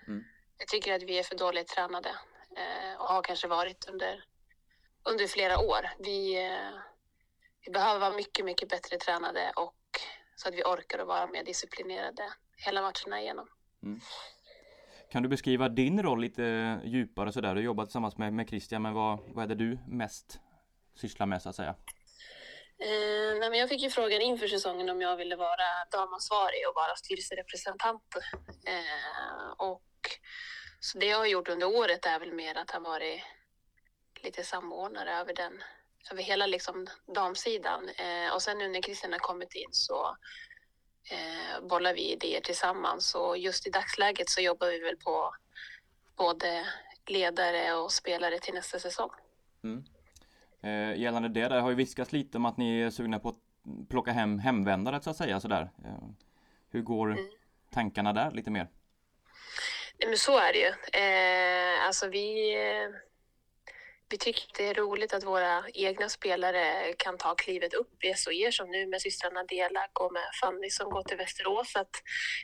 Mm. Jag tycker att vi är för dåligt tränade eh, och har kanske varit under, under flera år. Vi, eh, vi behöver vara mycket, mycket bättre tränade och så att vi orkar att vara mer disciplinerade hela matcherna igenom. Kan du beskriva din roll lite djupare sådär? Du jobbar tillsammans med, med Christian, men vad, vad är det du mest sysslar med så att säga? Eh, nej, men jag fick ju frågan inför säsongen om jag ville vara damansvarig och vara styrelserepresentant. Eh, och så det jag har gjort under året är väl mer att ha varit lite samordnare över den, över hela liksom damsidan. Eh, och sen nu när Christian har kommit in så eh, bollar vi idéer tillsammans och just i dagsläget så jobbar vi väl på både ledare och spelare till nästa säsong. Mm. Eh, gällande det, där har ju viskats lite om att ni är sugna på att plocka hem hemvändare så att säga sådär. Eh, hur går tankarna där lite mer? Nej, men så är det ju. Eh, alltså vi, eh, vi tycker att det är roligt att våra egna spelare kan ta klivet upp i SOE som nu med systrarna Delak och med Fanny som går till Västerås. Så Att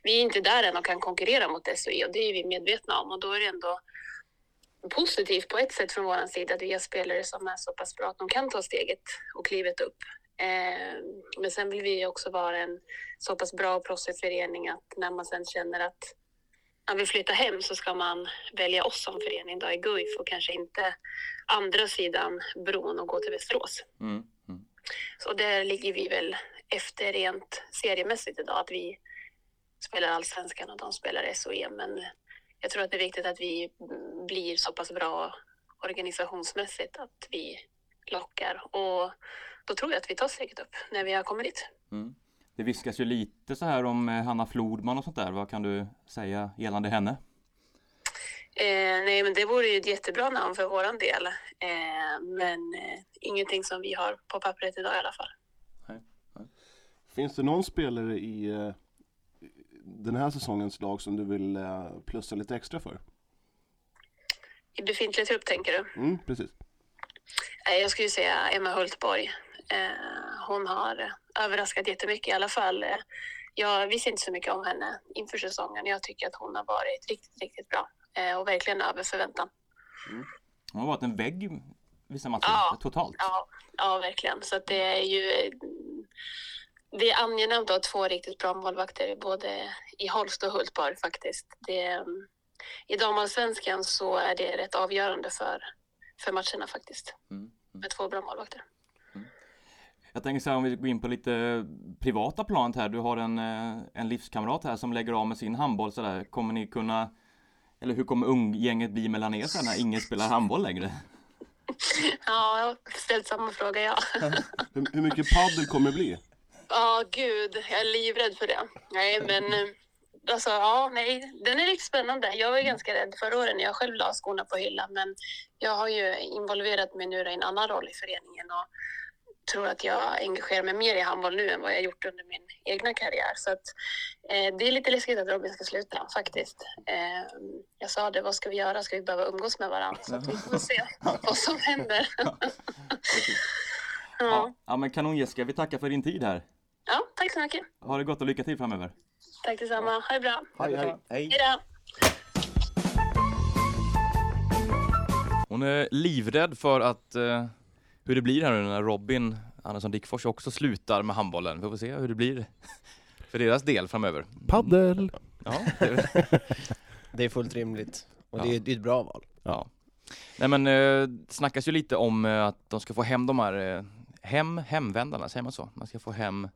vi är inte där än och kan konkurrera mot SOE och det är vi medvetna om och då är det ändå positivt på ett sätt från vår sida att vi har spelare som är så pass bra att de kan ta steget och klivet upp. Eh, men sen vill vi ju också vara en så pass bra och proffsig förening att när man sen känner att man vill flytta hem så ska man välja oss som förening då i Guif och kanske inte andra sidan bron och gå till Västerås. Mm. Så där ligger vi väl efter rent seriemässigt idag att vi spelar allsvenskan och de spelar SOE men jag tror att det är viktigt att vi mm, blir så pass bra organisationsmässigt att vi lockar och då tror jag att vi tar steget upp när vi har kommit dit. Mm. Det viskas ju lite så här om eh, Hanna Flodman och sånt där. Vad kan du säga gällande henne? Eh, nej, men det vore ju ett jättebra namn för våran del. Eh, men eh, ingenting som vi har på pappret idag i alla fall. Finns det någon spelare i eh, den här säsongens lag som du vill eh, plussa lite extra för? I befintlig trupp tänker du? Mm, precis. Eh, jag skulle säga Emma Hultborg. Eh, hon har överraskat jättemycket i alla fall. Eh, jag visste inte så mycket om henne inför säsongen. Jag tycker att hon har varit riktigt, riktigt bra eh, och verkligen över förväntan. Hon har varit en vägg vissa matcher totalt. Ja, ja verkligen. Så att det är ju... Det är angenämt att ha två riktigt bra målvakter både i Holst och Hultborg faktiskt. Det, mm, I damallsvenskan så är det rätt avgörande för, för matcherna faktiskt. Med två bra målvakter. Jag tänker så här om vi går in på lite eh, privata planet här. Du har en, eh, en livskamrat här som lägger av med sin handboll så där. Kommer ni kunna eller hur kommer umgänget bli mellan er sen när ingen spelar handboll längre? Ja, jag har ställt samma fråga jag. Hur, hur mycket paddel kommer det bli? Ja, gud, jag är livrädd för det. Nej, men eh, alltså, ja, nej, den är riktigt spännande. Jag var ju ganska rädd förra året när jag själv la skorna på hyllan, men jag har ju involverat mig nu då i en annan roll i föreningen och tror att jag engagerar mig mer i handboll nu än vad jag gjort under min egna karriär. Så att, eh, det är lite läskigt att Robin ska sluta faktiskt. Eh, jag sa det, vad ska vi göra? Ska vi behöva umgås med varandra? Så att vi får se vad som händer. *laughs* ja. Ja men kanon Jessica, vi tackar för din tid här. ja, tack så mycket. Ha det gott och lycka till framöver. Tack detsamma. Ha det bra. Hej, hej. Hej. då. Hon är livrädd för att eh, hur det blir här nu när Robin Andersson Dickfors också slutar med handbollen. Vi får se hur det blir *laughs* för deras del framöver. Paddel! Ja, det- Det är fullt rimligt. Och Ja. det, är, det är ett bra val. *laughs* Ja. Nej men eh, det snackas ju lite om eh, att de ska få hem de här eh, hem, hemvändarna, säger man så? Man ska få hem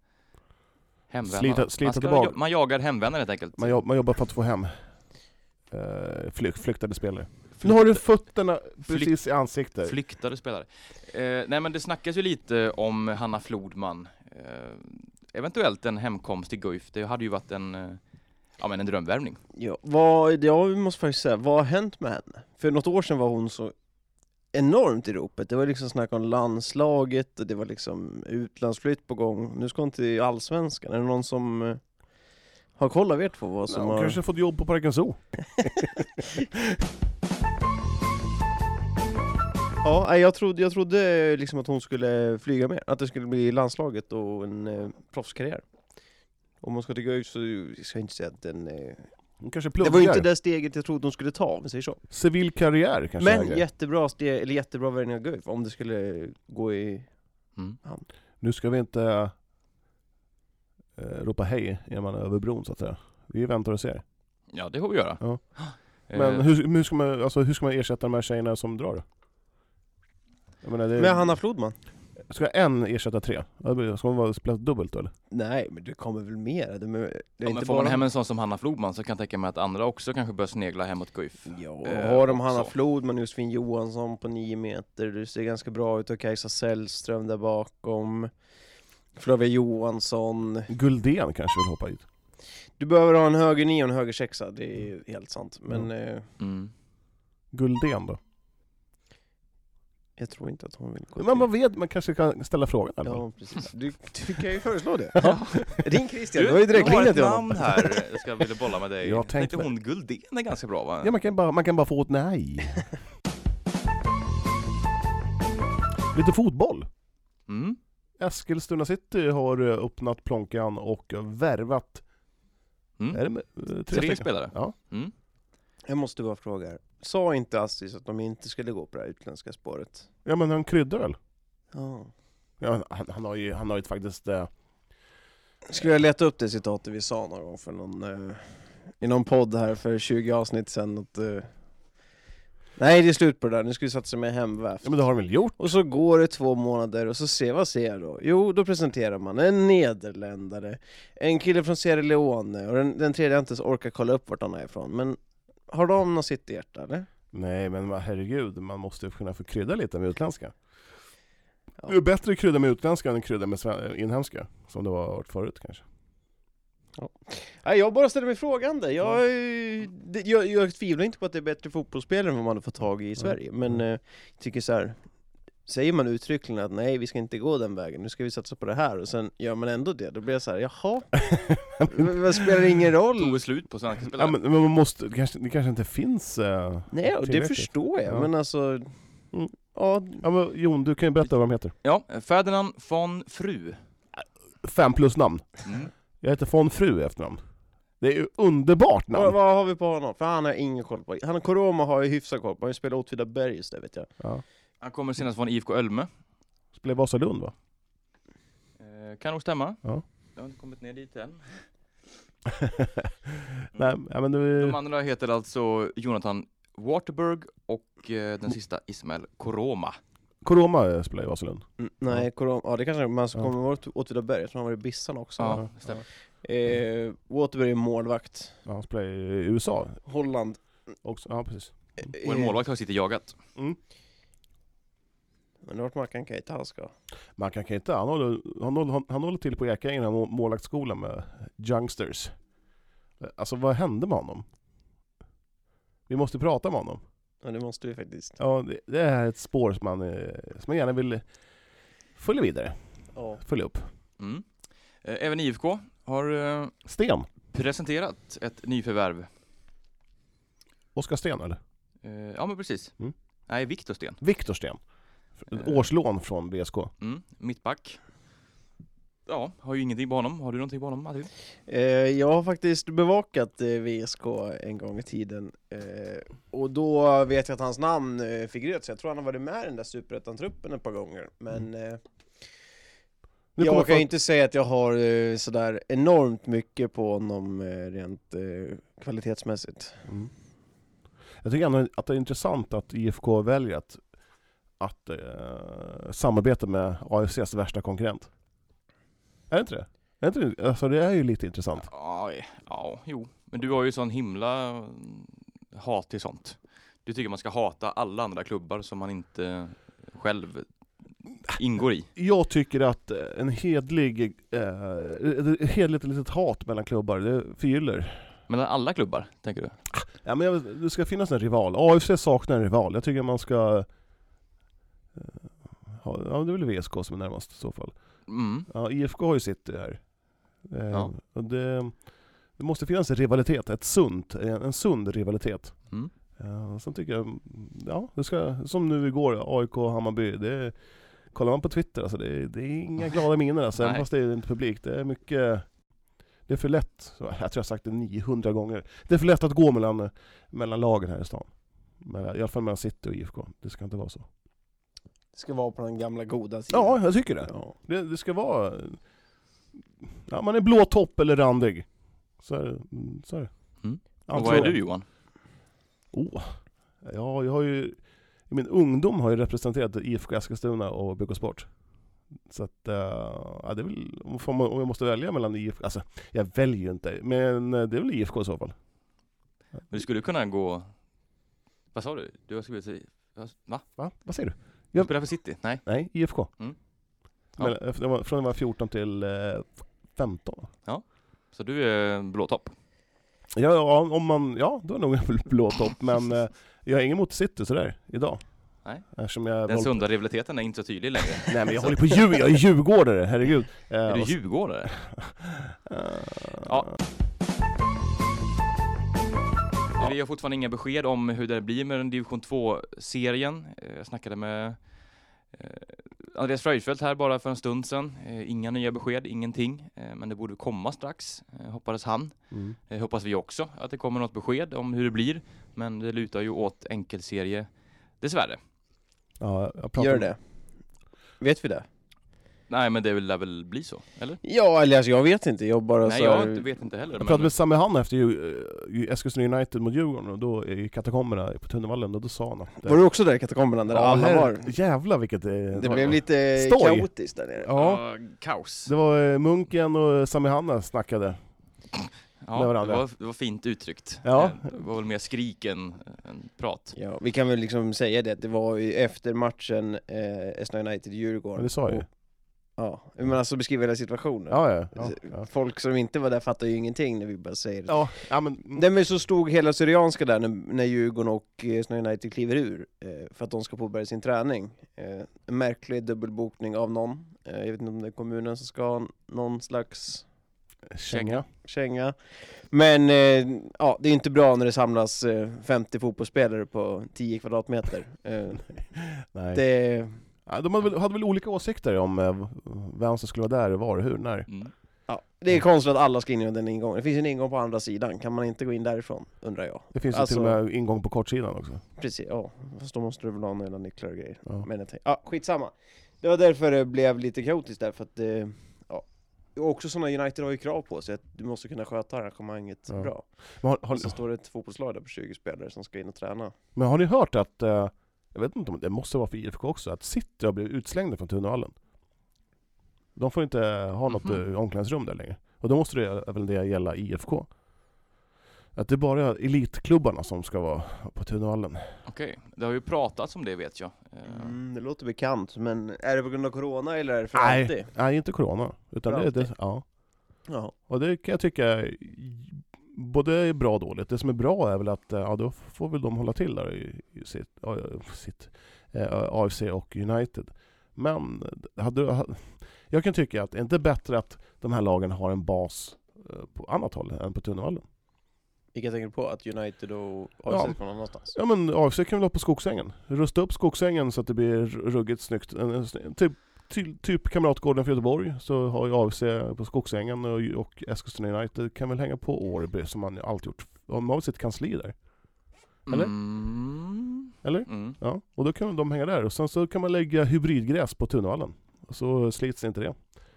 hemvändarna. Slita- slita man, ska, tillbaka. man jagar hemvändare helt enkelt. Man, jobb, man jobbar för att få hem eh, flyk, flyktade spelare. Nu har du fötterna precis i ansiktet. Flyktade spelare. Eh, nej men det snackas ju lite om Hanna Flodman. Eh, eventuellt en hemkomst till Guif. Det hade ju varit en, eh, ja, men en drömvärvning. Ja, vad, jag måste faktiskt säga, vad har hänt med henne? För något år sedan var hon så enormt i ropet. Det var liksom snack om landslaget och det var liksom utlandsflytt på gång. Nu ska hon till Allsvenskan. Är det någon som eh, har koll av er två vad som Hon har... kanske fått jobb på Parken Zoo. Ja, nej, jag trodde, jag trodde eh, liksom att hon skulle flyga mer, att det skulle bli landslaget och en eh, proffskarriär. Om hon ska till Guif så ska jag inte säga att den... Eh... Hon kanske Det var ju inte pluggar. det steget jag trodde hon skulle ta, om vi säger så. Civil karriär kanske är Men grejen. jättebra, steg, eller jättebra värvning av Guif, om det skulle gå i... Mm. hamn. Nu ska vi inte eh, ropa hej när man är över bron så att säga. Vi väntar och ser. Ja det får vi göra. Ja. Eh, Men hur, men hur, ska man, alltså, hur ska man ersätta de här tjejerna som drar? Jag menar, det, Med Hanna Flodman? Ska en ersätta tre? Ja, det blir- Ska man vara- spela dubbelt då eller? Nej, men det kommer väl mer? Det, men, det är Ja, men inte får man bara- hem en sån som Hanna Flodman så kan jag tänka mig att andra också kanske börjar snegla hemåt Guif. Ja, Eh, har de Hanna också. Flodman, Josefin Johansson på 9 meter, det ser ganska bra ut, och Kajsa Sällström där bakom, Flavia Johansson. Guldén kanske vill hoppa hit? Du behöver ha en höger nio och en höger sexa, det är ju helt sant. Men eh, Mm. Guldén då? jag tror inte att hon vill gå Men man vet, man kanske kan ställa frågan. i alla fall. Ja, precis. Du, du kan ju föreslå *laughs* det. Ja. Ring Christian, Du- du har ju du direkt har ett till honom. namn här. Jag ska vilja bolla med dig. Jag Jag tänkte tänkte- hon Guldén är ganska bra va? Ja, man kan bara, man kan bara få ett nej. *laughs* Lite fotboll. Mm. Eskilstuna City har eh, öppnat plånkan och värvat Mm. är det, med- eh, tre, Tre stycken. spelare. Ja. Mm. Jag måste bara fråga, här. sa inte Astis att de inte skulle gå på det här utländska spåret? ja, men han kryddar väl? Ja. Ja, men han, han har ju, han har ju faktiskt... Eh, Skulle jag leta upp det citatet vi sa någon gång för någon, eh, i någon podd här för 20 avsnitt sedan? Att, eh, nej, det är slut på det där, nu ska vi satsa med hemvävt. Ja men det har de väl gjort? Och så går det två månader och så ser vad ser jag då? Jo, då presenterar man en nederländare, en kille från Sierra Leone och den, den tredje jag inte ens orkar kolla upp vart han är ifrån. Men har de något sitt hjärta eller? nej men vad- herregud, man måste ju kunna få krydda lite med utländska. Det är bättre att krydda med utländska än att krydda med sven- eh, inhemska, som det har varit förut kanske. Nej, jag bara ställer mig frågande. Jag, det- jag, jag tvivlar inte på att det är bättre fotbollsspelare än vad man får tag i i Sverige, men eh, jag tycker så här. Säger man uttryckligen att nej, vi ska inte gå den vägen, nu ska vi satsa på det här, och sen gör man ändå det, då blir jag så här, jaha? Men Vad spelar det ingen roll? Tog slut på svenska spelare. Ja, men, men man måste, det kanske, det kanske inte finns eh, Nej, och det tillräckligt. förstår jag, Ja. men alltså... Ja. ja men Jon, du kan ju berätta vad de heter. Ja, Ferdinand von Fru. Fem plus namn. Mm. Jag heter von Fru i efternamn. Det är ju underbart namn! Vad, vad har vi på honom? För han har ingen koll på... Han Koroma har ju hyfsat koll på, han har ju spelat Åtvidaberg just det vet jag. Ja. Han kommer senast från IFK Ölme. Spelar i Vasalund va? Eh, kan nog stämma. Ja. Eh. Jag har inte kommit ner dit än. Mm. Nej, ja, men du... De andra heter alltså Jonathan Waterberg och eh, den sista Ismael Koroma. Koroma eh, spelar i Vasalund. Mm, nej, Koroma, ja det kanske man ska Ja. komma ihåg Åtvidaberg, jag tror han var i Bissan också. Ja, va? det stämmer. Eh, Waterberg är målvakt, Ja, han spelar i USA Holland. eh, också. Ja, Eh. precis. Och en målvakt har sitter jagat. Men vart Mackan Keita han ska. Man kan inte, han håller, han håller, han håller till på Ekängen, den här må- målvaktsskolan med Youngsters. Alltså vad hände med honom? Vi måste prata med honom. Ja det måste vi faktiskt. Ja, det, det är ett spår som man, eh, som man gärna vill följa vidare, Ja. följa upp. Mm. Eh, även IFK har eh, Sten, presenterat ett nyförvärv. Oskar Sten eller? Eh, ja men precis. Mm. Nej, Viktor Sten. Viktor Sten. Ett Eh. årslån från VSK. Mm. Mittback. Ja, har ju ingenting på honom. Har du någonting på honom Matti? Eh, jag har faktiskt bevakat eh, VSK en gång i tiden. Eh, och då vet jag att hans namn eh, figurerade, så jag tror han har varit med i den där superettan-truppen ett par gånger. Men eh, Mm. Nu kommer jag kan folk- ju inte säga att jag har eh, sådär enormt mycket på honom eh, rent eh, kvalitetsmässigt. Jag tycker ändå att det är intressant att IFK väljer att, att eh, samarbeta med AFCs värsta konkurrent. Är det inte det? Är det, inte, det? alltså det är ju lite intressant. Ja, eh, ja, jo. Men du har ju sån himla mm, hat till sånt. Du tycker man ska hata alla andra klubbar som man inte själv ingår i. Jag tycker att eh, en hedlig, eh, ett hedligt litet hat mellan klubbar, det förgyller. Mellan alla klubbar, tänker du? Ja, men jag, det ska finnas en rival. AFC saknar en rival. Jag tycker man ska... eh, ha- Ja, det är väl VSK som är närmast i så fall. Mm. Ja, IFK har ju sitt här. Eh, Ja. och det, det måste finnas en rivalitet, ett sunt, en, en sund rivalitet. Mm. Eh, sen tycker jag, ja, det ska, som nu igår, AIK-Hammarby, det kollar man på Twitter alltså, det, det är inga glada miner alltså, även Nej. fast det är inte publik. Det är mycket, det är för lätt, Så jag tror jag har sagt det 900 gånger, det är för lätt att gå mellan, mellan lagen här i stan. Mellan, I alla fall mellan city och IFK, det ska inte vara så. Det ska vara på den gamla goda sidan. Ja, jag tycker det. Det, det ska vara... Ja, man är blå topp eller randig. Så är det. Mm, Så är det. Mm. Ja, Och så vad är du Johan? Oh. Ja, jag har ju... I min ungdom har jag representerat IFK Eskilstuna och BK Sport. Så att, eh, ja det är väl, om får man- om jag måste välja mellan IFK, alltså jag väljer ju inte, men eh, det är väl IFK i så fall. Men du skulle kunna gå... Vad sa du? Du har skrivit... Va? Va? Vad säger du? Du spelar för City? Nej. Nej, IFK. Mm. Men, Ja. eh, det var- Från jag var 14 till eh, 15. Ja. Så du är blåtopp? Ja, ja, om man, ja då är nog en blå *laughs* topp, men eh, jag är ingen mot City sådär idag. Nej. Eftersom jag Den håller- sunda rivaliteten är inte så tydlig längre. Nej *laughs* men jag håller på djur, jag är djurgårdare, herregud. Eh, Är du och s- *laughs* djurgårdare? ja. Vi har fortfarande inga besked om hur det blir med den division 2-serien. Eh, Jag snackade med eh, Andreas Fröjdfeldt här bara för en stund sedan. Eh, Inga nya besked, ingenting. Eh, Men det borde komma strax, eh, hoppades han. Mm. Eh, Hoppas vi också att det kommer något besked om hur det blir. Men det lutar ju åt enkelserie, dessvärre. Ja, jag pratar Gör om- det? Vet vi det? Nej men det lär väl bli så, eller? Ja, eller alltså jag vet inte. Jag bara Nej så jag här- inte- vet inte heller. Jag men- pratade med Sami Hanna efter ju, eh, Eskilstuna United mot Djurgården och då i katakomberna på Tunnevallen, och då sa han att... eh, Var du också där i katakomberna där ja, alla här- var? Jävlar vilket... eh, Det blev lite kaotiskt där nere. Ja. kaos. Det var eh, Munken och Sami Hanna snackade. Ja, med det varandra. var, det var fint uttryckt. Ja. Eh, Det var väl mer skrik än, än prat. Ja, vi kan väl liksom säga det att det var ju efter matchen eh, Esna United-Djurgården. Ja, det sa jag ju. Och- Ja, men alltså beskriva hela situationen. Ja, ja, ja, ja. Folk som inte var där fattar ju ingenting när vi bara säger det. Ja, ja men... mm. Nej men så stod hela Syrianska där när, när Djurgården och eh, Esna United kliver ur eh, för att de ska påbörja sin träning. Eh, en märklig dubbelbokning av någon. Eh, jag vet inte om det är kommunen som ska ha någon slags Känga. känga. Men eh, ja, det är inte bra när det samlas eh, 50 fotbollsspelare på 10 kvadratmeter. Eh, Nej. Det... Ja, de hade väl, hade väl olika åsikter om eh, vem som skulle vara där och var och hur, när. Mm. Ja, det är konstigt att alla ska in genom den ingången. Det finns en ingång på andra sidan, kan man inte gå in därifrån? Undrar jag. Det finns Alltså- ju till och med ingång på kortsidan också. Precis, ja. Fast då måste du väl ha några jävla nycklar och grejer. Ja. Men jag tänkte, ja, skitsamma. Det var därför det blev lite kaotiskt där, för att eh, ja. Och också sådana United har ju krav på sig att du måste kunna sköta arrangemanget Ja. bra. Men har, Och så har, står det ett fotbollslag där på 20 spelare som ska in och träna. men har ni hört att, eh, jag vet inte om det måste vara för IFK också, att City har blivit utslängda från Tunavallen? De får inte ha något Mhm. eh, omklädningsrum där längre. Och då måste det även det gälla IFK. Att det är bara elitklubbarna som ska vara på Tunavallen. Okej, det har ju pratats om det vet jag. Eh, Mm, det låter bekant, men är det på grund av Corona eller är det för alltid? Nej, nej, inte Corona. Utan För det, det, alltid. ja. Ja. Och det kan jag tycka är både är bra och dåligt. Det som är bra är väl att eh, ja, då får väl de hålla till där i, i sitt, ja, ja, sitt eh, AFC och United. Men eh, hade, ha- jag kan tycka att är det inte bättre att de här lagen har en bas eh, på annat håll än på Tunnevallen? Vilka tänker du på? Att United och AFC Ja. ska vara någonstans? Ja men AFC kan väl ha på Skogsängen? Rusta upp Skogsängen så att det blir ruggigt snyggt. En- en sny- Typ, ty, typ Kamratgården för Göteborg så har ju AFC på Skogsängen och, och Eskilstuna United kan väl hänga på Årby som man ju alltid gjort. De har väl sitt kansli där? Eller? Mm. Eller? Mm. Ja, och då kan de hänga där och sen så kan man lägga hybridgräs på Tunavallen. Och så slits inte det.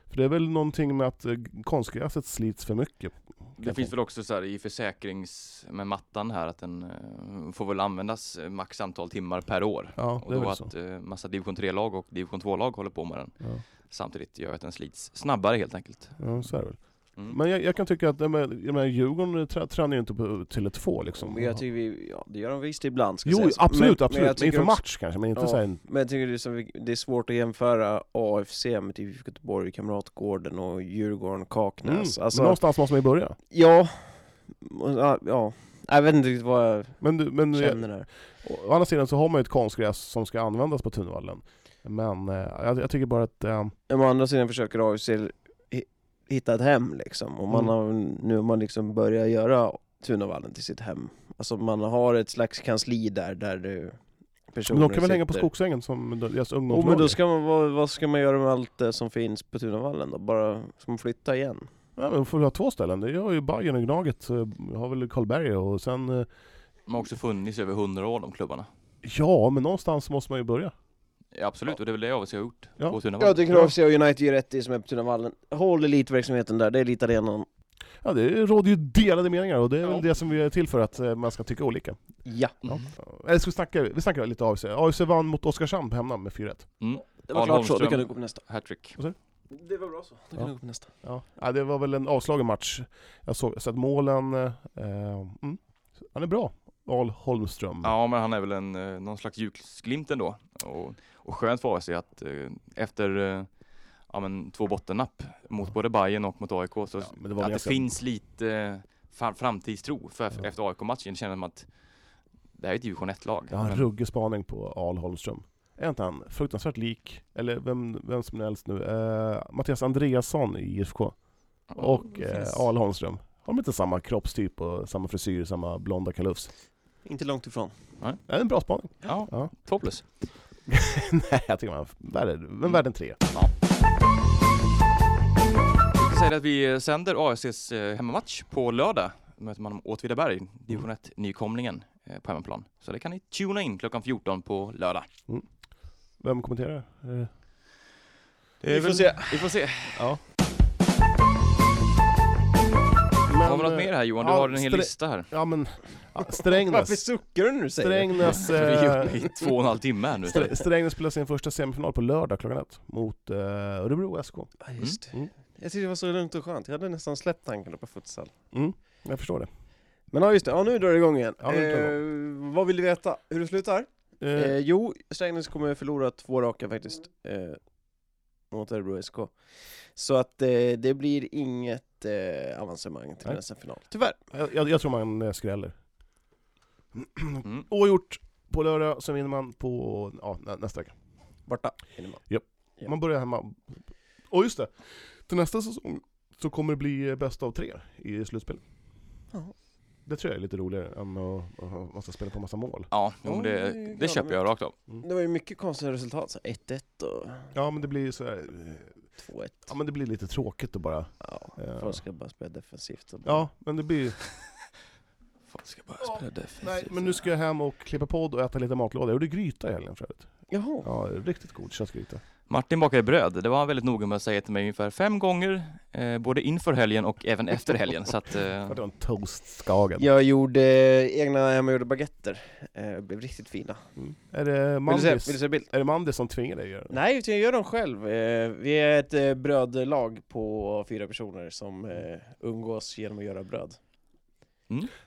För det är väl någonting med att eh, konstgräset slits för mycket. Det finns väl också så här i försäkrings med mattan här att den eh, får väl användas eh, max antal timmar per år. Ja, det är och då väl att eh, massa division 3-lag och division 2-lag håller på med den Ja. samtidigt gör att den slits snabbare helt enkelt. Mm. Ja, så är det väl. Men jag, jag kan tycka att, jag menar, jag menar, Djurgården trä, tränar ju inte på Tele2 liksom. Men jag tycker vi, ja det gör de visst ibland ska Jo, sägas. absolut, absolut. jag tycker Inför match kanske, men inte så här en- Men jag tycker det är, så- det är svårt att jämföra AFC med typ IFK Göteborg, Kamratgården och Djurgården, Kaknäs. Alltså, Mm, men någonstans måste man ju börja. Ja, ja, ja. jag vet inte riktigt vad jag men du, men eh, känner där. Å, å andra sidan så har man ju ett konstgräs som ska användas på Tunvallen. Men eh, jag, jag tycker bara att... Eh, Men å andra sidan försöker AFC hi- hitta ett hem liksom. Och man Mm. har, nu har man liksom börjat göra Tunavallen till sitt hem. Alltså man har ett slags kansli där, där du men personer de kan väl hänga på sitter. Skogsängen som deras Jo men ungdomslag? då ska man, vad, vad ska man göra med allt det som finns på Tunavallen då? Bara, ska man flytta igen? Ja, men de får väl ha två ställen. Det har ju Bayern och Gnaget, eh, har väl Karlberg och sen... Eh, De har också funnits i över 100 år de klubbarna. ja, men någonstans måste man ju börja. Ja, absolut, och det är väl det jag har gjort Ja. på Tunavallen. Jag tycker AFC och United gör rätt i som är på Tunavallen. Håll elitverksamheten där, det är elitarenan. Ja, det råder ju delade meningar och det är väl det som vi är till för, att eh, man ska tycka olika. Ja. Mm. Eller ska vi snacka, vi snackar lite AFC. AFC vann mot Oskarshamn på hemland med 4-1. Mm. Det var Arne klart så, Holmström, då kan du gå på nästa. Hattrick. Det var bra så. Då kan Ja. du gå på nästa. Ja. ja, det var väl en avslagen match. Jag såg, jag sett målen. Eh, mm. Han är bra, Al Holmström. Ja, men han är väl en, eh, någon slags ljusglimt ändå. Och, och skönt för AFC att eh, efter eh, ja, men två bottennapp mot både Bayern och mot AIK så det var att ganska- det finns lite eh, fa- framtidstro för efter AIK-matchen känner man att det här är ett division 1-lag. Jag har en Men- ruggig spaning på Al Holmström. Är inte han fruktansvärt lik, eller vem, vem som helst nu, eh, Mattias Andreasson i IFK? Och det eh, finns. Al Holmström. Har de inte samma kroppstyp och samma frisyr, samma blonda kalufs? Inte långt ifrån. Nej. Det är en bra spaning. *laughs* Ja, två plus. Nej, jag tycker man värde, men värde en tre. Jag säger att vi sänder AFCs eh, hemmamatch på lördag. Då möter man Åtvidaberg, division 1-nykomlingen eh, på hemmaplan. Så det kan ni tuna in klockan 14 på lördag. Vem kommenterar? Eh, Det är Vi får väl- se. Vi får se. Ja. har vi något mer här Johan? Du ja, har en hel Strä- lista här. eh, Ja men, ja, Strängnäs. Varför suckar du när du säger det? *laughs* Strängnäs... Vi har eh, gjort det i två och en halv timme här nu. Strä- Strängnäs spelar sin första semifinal på lördag klockan ett mot eh, Örebro SK. Ja, just det. Jag tyckte det var så lugnt och skönt. Jag hade nästan släppt tankarna på futsal. Mm, jag förstår det. Men ja, just det. Ja, nu drar det igång igen. Ja, nu drar det eh, vad vill du veta? Hur det slutar? Eh. Eh. jo, Strängnäs kommer förlora två raka faktiskt. Eh, mot Örebro SK. Så att eh, det blir inget eh, avancemang till Nej. nästa final. Tyvärr. Jag, jag, jag tror man eh, skräller. Mm. Oavgjort på lördag, sen vinner man på ja, nä, nästa vecka. Borta vinner man. Japp. Man börjar hemma. Och just det, till nästa säsong så kommer det bli eh, bäst av tre i slutspel. Ja. Det tror jag är lite roligare än att, att, att måste spela på massa mål. Ja, jo, men det, det är det köper jag rakt av. Det var ju mycket konstiga resultat. Så 1-1 och... Ja men det blir så här... eh, 2-1. Ja men det blir lite tråkigt att bara... eh, Folk ska bara spela defensivt. Och bara... ja men det blir... Folk ska bara spela defensivt. Nej, men nu ska jag hem och klippa podd och äta lite matlåda. Jag gjorde gryta i helgen för övrigt. Jaha. Ja, riktigt god köttgryta. Martin bakade bröd. Det var han väldigt noga med att säga till mig ungefär fem gånger, eh, både inför helgen och även efter helgen. Så att, eh, *laughs* Det var en toast Skagen. Jag gjorde egna hemmagjorda baguetter. Eh, blev riktigt fina. Mm. Är det Vill du Mandis? se- vill du se Är det Mandis som tvingar dig att göra det? Nej, utan jag gör dem själv. Eh, Vi är ett eh, brödlag på fyra personer som eh, umgås genom att göra bröd.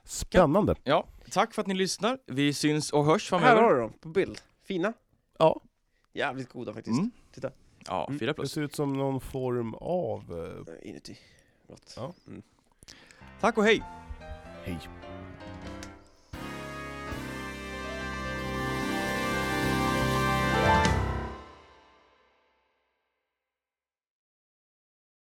Spännande. Ja, tack för att ni lyssnar. Vi syns och hörs framöver. Här har du dem på bild. Fina. Ja. Jävligt goda faktiskt. Mm. Titta. Ja, fyra plus. Det ser ut som någon form av... eh, Inuti. Gott. Ja. Tack och hej! Hej.